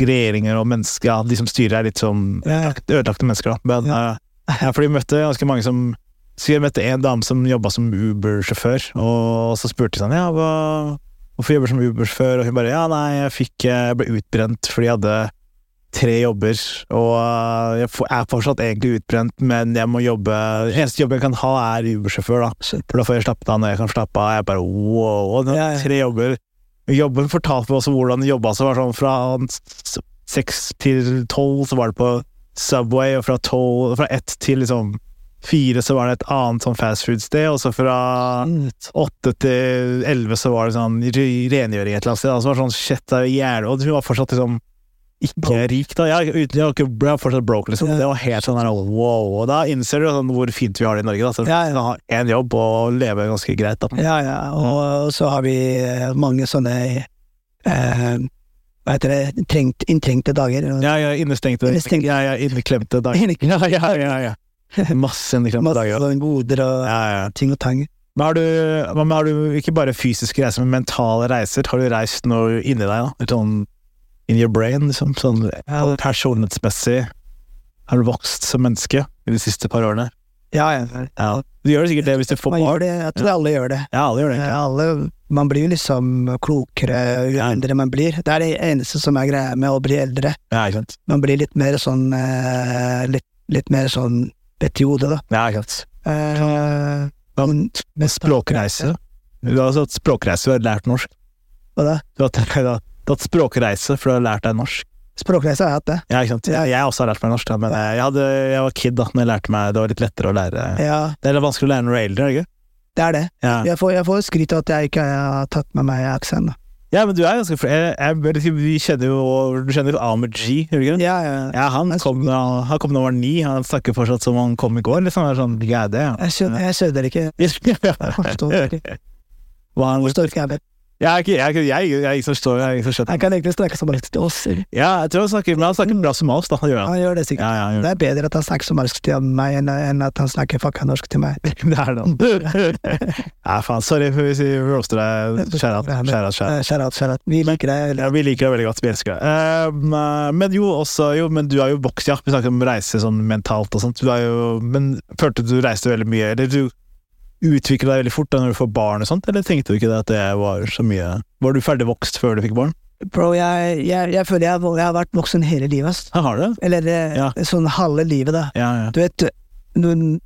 A: regjeringer og mennesker ja, De som styrer, er litt sånn
B: Ja.
A: ødelagte mennesker, da. Men,
B: Ja.
A: eh, ja, for de møtte ganske mange som Så jeg møtte en dame som jobba som Uber-sjåfør, og så spurte jeg sånn Ja, hva Hvorfor jobber du som Uber-sjåfør? Og hun bare Ja, nei, jeg fikk eh, ble utbrent fordi jeg hadde tre jobber, og eh, jeg får- er fortsatt egentlig utbrent, men jeg må jobbe Eneste jobben jeg kan ha, er Uber-sjåfør, da. For da får jeg slappet av når jeg kan slappe av. Jeg bare wow. Og det
B: Ja,
A: var
B: ja.
A: tre jobber. Jobben fortalte meg også hvordan det jobba. Så var det sånn fra s- seks til tolv, så var det på Subway, og fra, 12, fra ett til liksom fire så var det et annet sånn fastfood-sted, og så fra åtte til elleve så var det sånn re- rengjøring et eller annet sted. Altså, det var sånn shit, det er jævlig Og hun var fortsatt liksom ikke rik, da. Jeg, uten, jeg, var ikke, jeg var fortsatt broke, liksom.
B: Ja.
A: Det var helt sånn her, wow. Og da innser du sånn, hvor fint vi har det i Norge, da. Så
B: Ja, ja.
A: å ha én jobb og leve ganske greit, da.
B: Ja, ja. Og, og så har vi eh, mange sånne eh, Hva heter det trengt, Inntrengte dager.
A: Ja, ja, innestengte.
B: Innestengt.
A: Ja, ja, inneklemte dager.
B: Inneklemte.
A: Ja, ja, ja, ja. Masse inneklemte
B: Masse
A: dager. da.
B: sånne goder og
A: Ja, ja.
B: ting og tang.
A: Men har du, hva med- har du ikke bare fysiske reiser, men mentale reiser? Har du reist noe inni deg, da? Litt Sånn in your brain, liksom? Sånn personlighetsmessig. Har du vokst som menneske i de siste par årene?
B: Ja, ja.
A: Ja. Du gjør det sikkert det hvis du får
B: Man gjør det. Jeg tror alle gjør det.
A: Ja, alle gjør det.
B: Eh,
A: egentlig.
B: Alle, man blir jo liksom klokere jo eldre man blir. Det er det eneste som er greia med å bli eldre.
A: Ja, ikke sant.
B: Man blir litt mer sånn eh, litt, litt mer sånn bedt i hodet, da.
A: Ja, ikke sant.
B: Eh, men-
A: Men språkreise? Du har altså hatt språkreise, du har lært norsk.
B: Hva da?
A: Du har hatt, du har hatt språkreise, for du har lært deg norsk.
B: Språkreise har jeg hatt, det.
A: Ja, ikke sant. Jeg, jeg også har lært meg norsk, da, men jeg, jeg, hadde, jeg var kid da når jeg lærte meg Det var litt lettere å lære
B: Ja,
A: Det er litt vanskelig å lære når du er eldre, er det ikke?
B: det er det.
A: Ja.
B: Jeg får, jeg får skryt av at jeg ikke har tatt med meg aksent. da.
A: Ja, men du er ganske flink. Jeg, jeg, bør si- vi kjenner jo Du kjenner jo Ahmed G, gjør du ikke det?
B: Ja, ja.
A: Ja, han kom, da, han kom da han var ni. Han snakker fortsatt som han kom i går. Liksom. Det er sånn, ja, det, ja.
B: Jeg skjønner, jeg skjønner ikke. forstår
A: Hva han,
B: Forstår ikke jeg vet.
A: jeg, er ikke- jeg, er ikke- jeg, jeg, jeg, forstår- jeg, jeg skjønner.
B: Han kan egentlig snakke somalisk til oss. eller?
A: Ja, jeg tror han snakker, men han snakker bra som oss, da. Han gjør han.
B: Han gjør det
A: Ja,
B: sikkert.
A: ja, han gjør
B: Det er bedre at han snakker somalisk til meg enn, enn at han snakker fucka norsk til meg.
A: det. Det er det. Ja, faen. Sorry for hvis vi roaster deg. Skjær av. Skjær av, skjær av.
B: Eh, Shout out, shout out. Vi liker deg. eller?
A: Ja, vi liker deg veldig godt. Vi elsker deg. Ehm, eh, men jo, også, jo, men du har jo vokst, ja. Vi snakker om reise sånn mentalt og sånt. Du er jo, men følte du du reiste veldig mye, eller du utviklet deg veldig fort da når du får barn og sånt, eller tenkte du ikke det at det var så mye Var du ferdig vokst før du fikk barn?
B: Bro, jeg, jeg, jeg føler jeg, jeg har vært voksen hele livet. ass.
A: Ja, har du det?
B: Eller eh,
A: Ja.
B: sånn halve livet, da.
A: Ja, ja.
B: Du vet, du,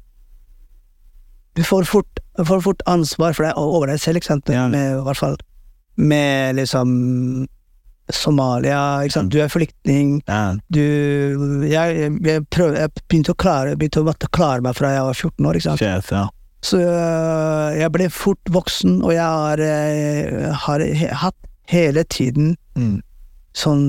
B: du får, fort, får fort ansvar for deg og over deg selv, ikke sant?
A: Ja.
B: Med, I hvert fall med liksom Somalia, ikke
A: Mm.
B: sant? Du er flyktning.
A: ja.
B: du, jeg, jeg, prøv, jeg begynte å klare begynte å måtte klare meg fra jeg var 14 år. Ikke sant?
A: Shit, ja.
B: Så øh, jeg ble fort voksen, og jeg har, øh, har he, hatt hele tiden
A: Mm.
B: sånn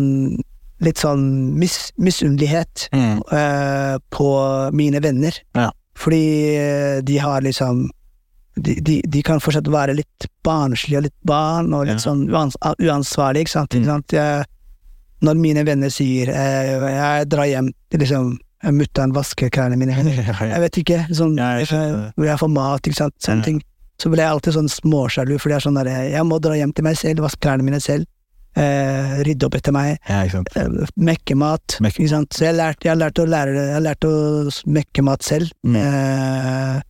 B: litt sånn mis, misunnelighet
A: Mm.
B: øh, på mine venner.
A: Ja.
B: Fordi øh, de har liksom de, de, de kan fortsatt være litt barnslige og litt barn, og litt
A: Ja.
B: sånn uans, uansvarlige, ikke sant.
A: Mm.
B: Ikke sant? Jeg, når mine venner sier eh, jeg drar hjem til liksom mutter'n vasker klærne mine, jeg vet ikke, sånn,
A: Ja, jeg
B: jeg
A: skjønner det.
B: hvor jeg får mat, ikke sant, sånne
A: Ja.
B: ting. Så blir jeg alltid sånn småsjalu, for det er sånn der, jeg må dra hjem til meg selv, vaske klærne mine selv, eh, rydde opp etter meg,
A: Ja, ikke sant.
B: eh, mekke mat,
A: Mekke.
B: ikke sant. Så jeg lærte, jeg lærte å lære det, jeg lærte å s- mekke mat selv.
A: Mm.
B: Eh,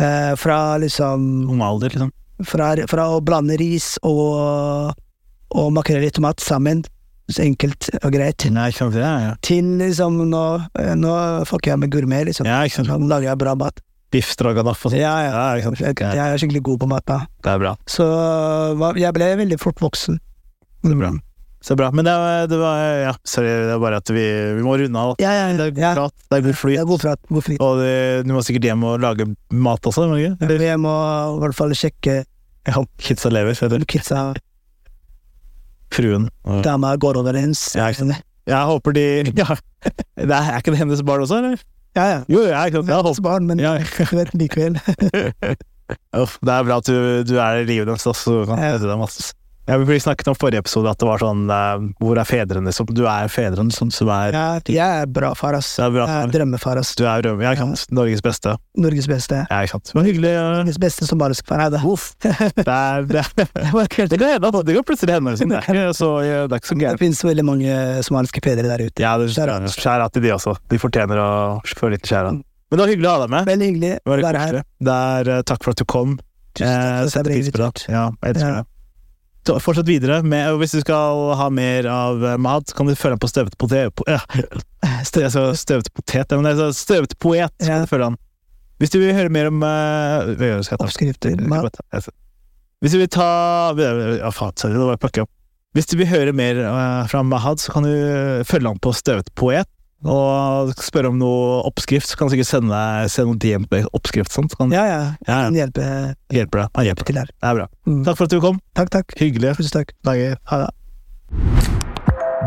B: eh, fra liksom,
A: Ung alder, liksom.
B: fra, fra å blande ris og, og makrell i tomat sammen, så enkelt og greit,
A: Nei, ikke sant. Ja, ja.
B: til liksom, nå, eh, nå fucker jeg med gourmet, liksom.
A: ja, ikke sant.
B: Nå lager jeg bra mat.
A: Biff stroganoff og sånt.
B: Ja, ja.
A: ikke sant?
B: Jeg,
A: Ok,
B: jeg er skikkelig god på mat, da.
A: Det er bra.
B: Så hva- jeg ble veldig fort voksen. Det er bra.
A: Så bra. Men det, var- det var Ja, sorry, det er bare at vi, vi må runde av.
B: Ja, ja,
A: Det er god
B: ja.
A: prat, det er god
B: Det
A: flyt.
B: er god prat. God fri.
A: Og det, du må sikkert hjem og lage mat også? må du ikke? Eller?
B: Jeg må i hvert fall sjekke
A: Ja, kidsa lever, heter det.
B: kidsa.
A: Fruen.
B: Dama går overens.
A: Ja, ikke sant. Jeg håper de ja. Det er, er ikke det hennes barn også, eller?
B: Ja, ja.
A: Jo, ja, ikke sant. Jeg
B: Hans
A: håper.
B: barn, men
A: Ja.
B: likevel.
A: Uff, det er bra at du, du er i livet deres, da, så kan jeg hete deg masse. Jeg ble snakket om forrige episode at det var sånn eh, Hvor er fedrene? Som, du er fedrene som, som er
B: Ja, jeg er bra far, ass.
A: Det er bra.
B: Jeg er drømmefar, ass.
A: Du er rømme, ja, ikke sant? Norges beste.
B: Norges beste.
A: Ja, ikke sant? Det var hyggelig. ja.
B: Norges beste somalisk far. Nei da.
A: Det, er, det, er, det kan hende at det kan plutselig hende. liksom. Det er ikke så, det er ikke så
B: Det
A: gærent.
B: finnes veldig mange eh, somaliske fedre der ute.
A: Ja, det
B: Skjær av.
A: skjær av til de også. De fortjener å få litt skjær av. Men det var hyggelig å ha deg med.
B: Veldig hyggelig å
A: Bare
B: være her.
A: koselig. Det er, eh, takk for at du kom.
B: Tusen takk for at jeg
A: setter
B: ble
A: pris på det. Ja, jeg elsker
B: Ja.
A: det. Så Fortsett videre. Med, og hvis du skal ha mer av eh, mat, kan du følge ham på Støvet potet. Po, ja. Stø- jeg sa Støvet potet, ja, men det er så støvet poet.
B: Ja.
A: Følg han. Hvis du vil høre mer om eh, hva gjør du, skal jeg ta?
B: Oppskrifter,
A: Jeg
B: mat.
A: skal ta- jeg skal- Hvis du vil ta Ja, faen, sorry, det var pakka opp. Hvis du vil høre mer eh, fra Mahad, så kan du eh, følge han på Støvet poet. Og spørre om noe oppskrift, så kan han sikkert sende deg sende noen DM med oppskrift. Sånn, så kan
B: Ja, ja.
A: ja,
B: Kan
A: ja.
B: hjelpe
A: Hjelper deg. Han hjelper
B: til
A: til.
B: her.
A: Det er bra.
B: Mm.
A: Takk for at du kom.
B: Takk, takk.
A: Hyggelig.
B: Tusen takk.
A: Lager.
B: Ha det.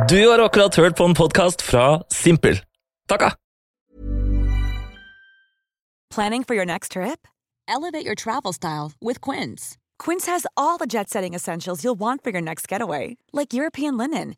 D: Du har akkurat hørt på en podkast fra Simpel. Takka!
E: Planning for your next trip? Elevate your travel style with Quince. Quince has all the jet setting essentials you'll want for your next getaway, like European linen,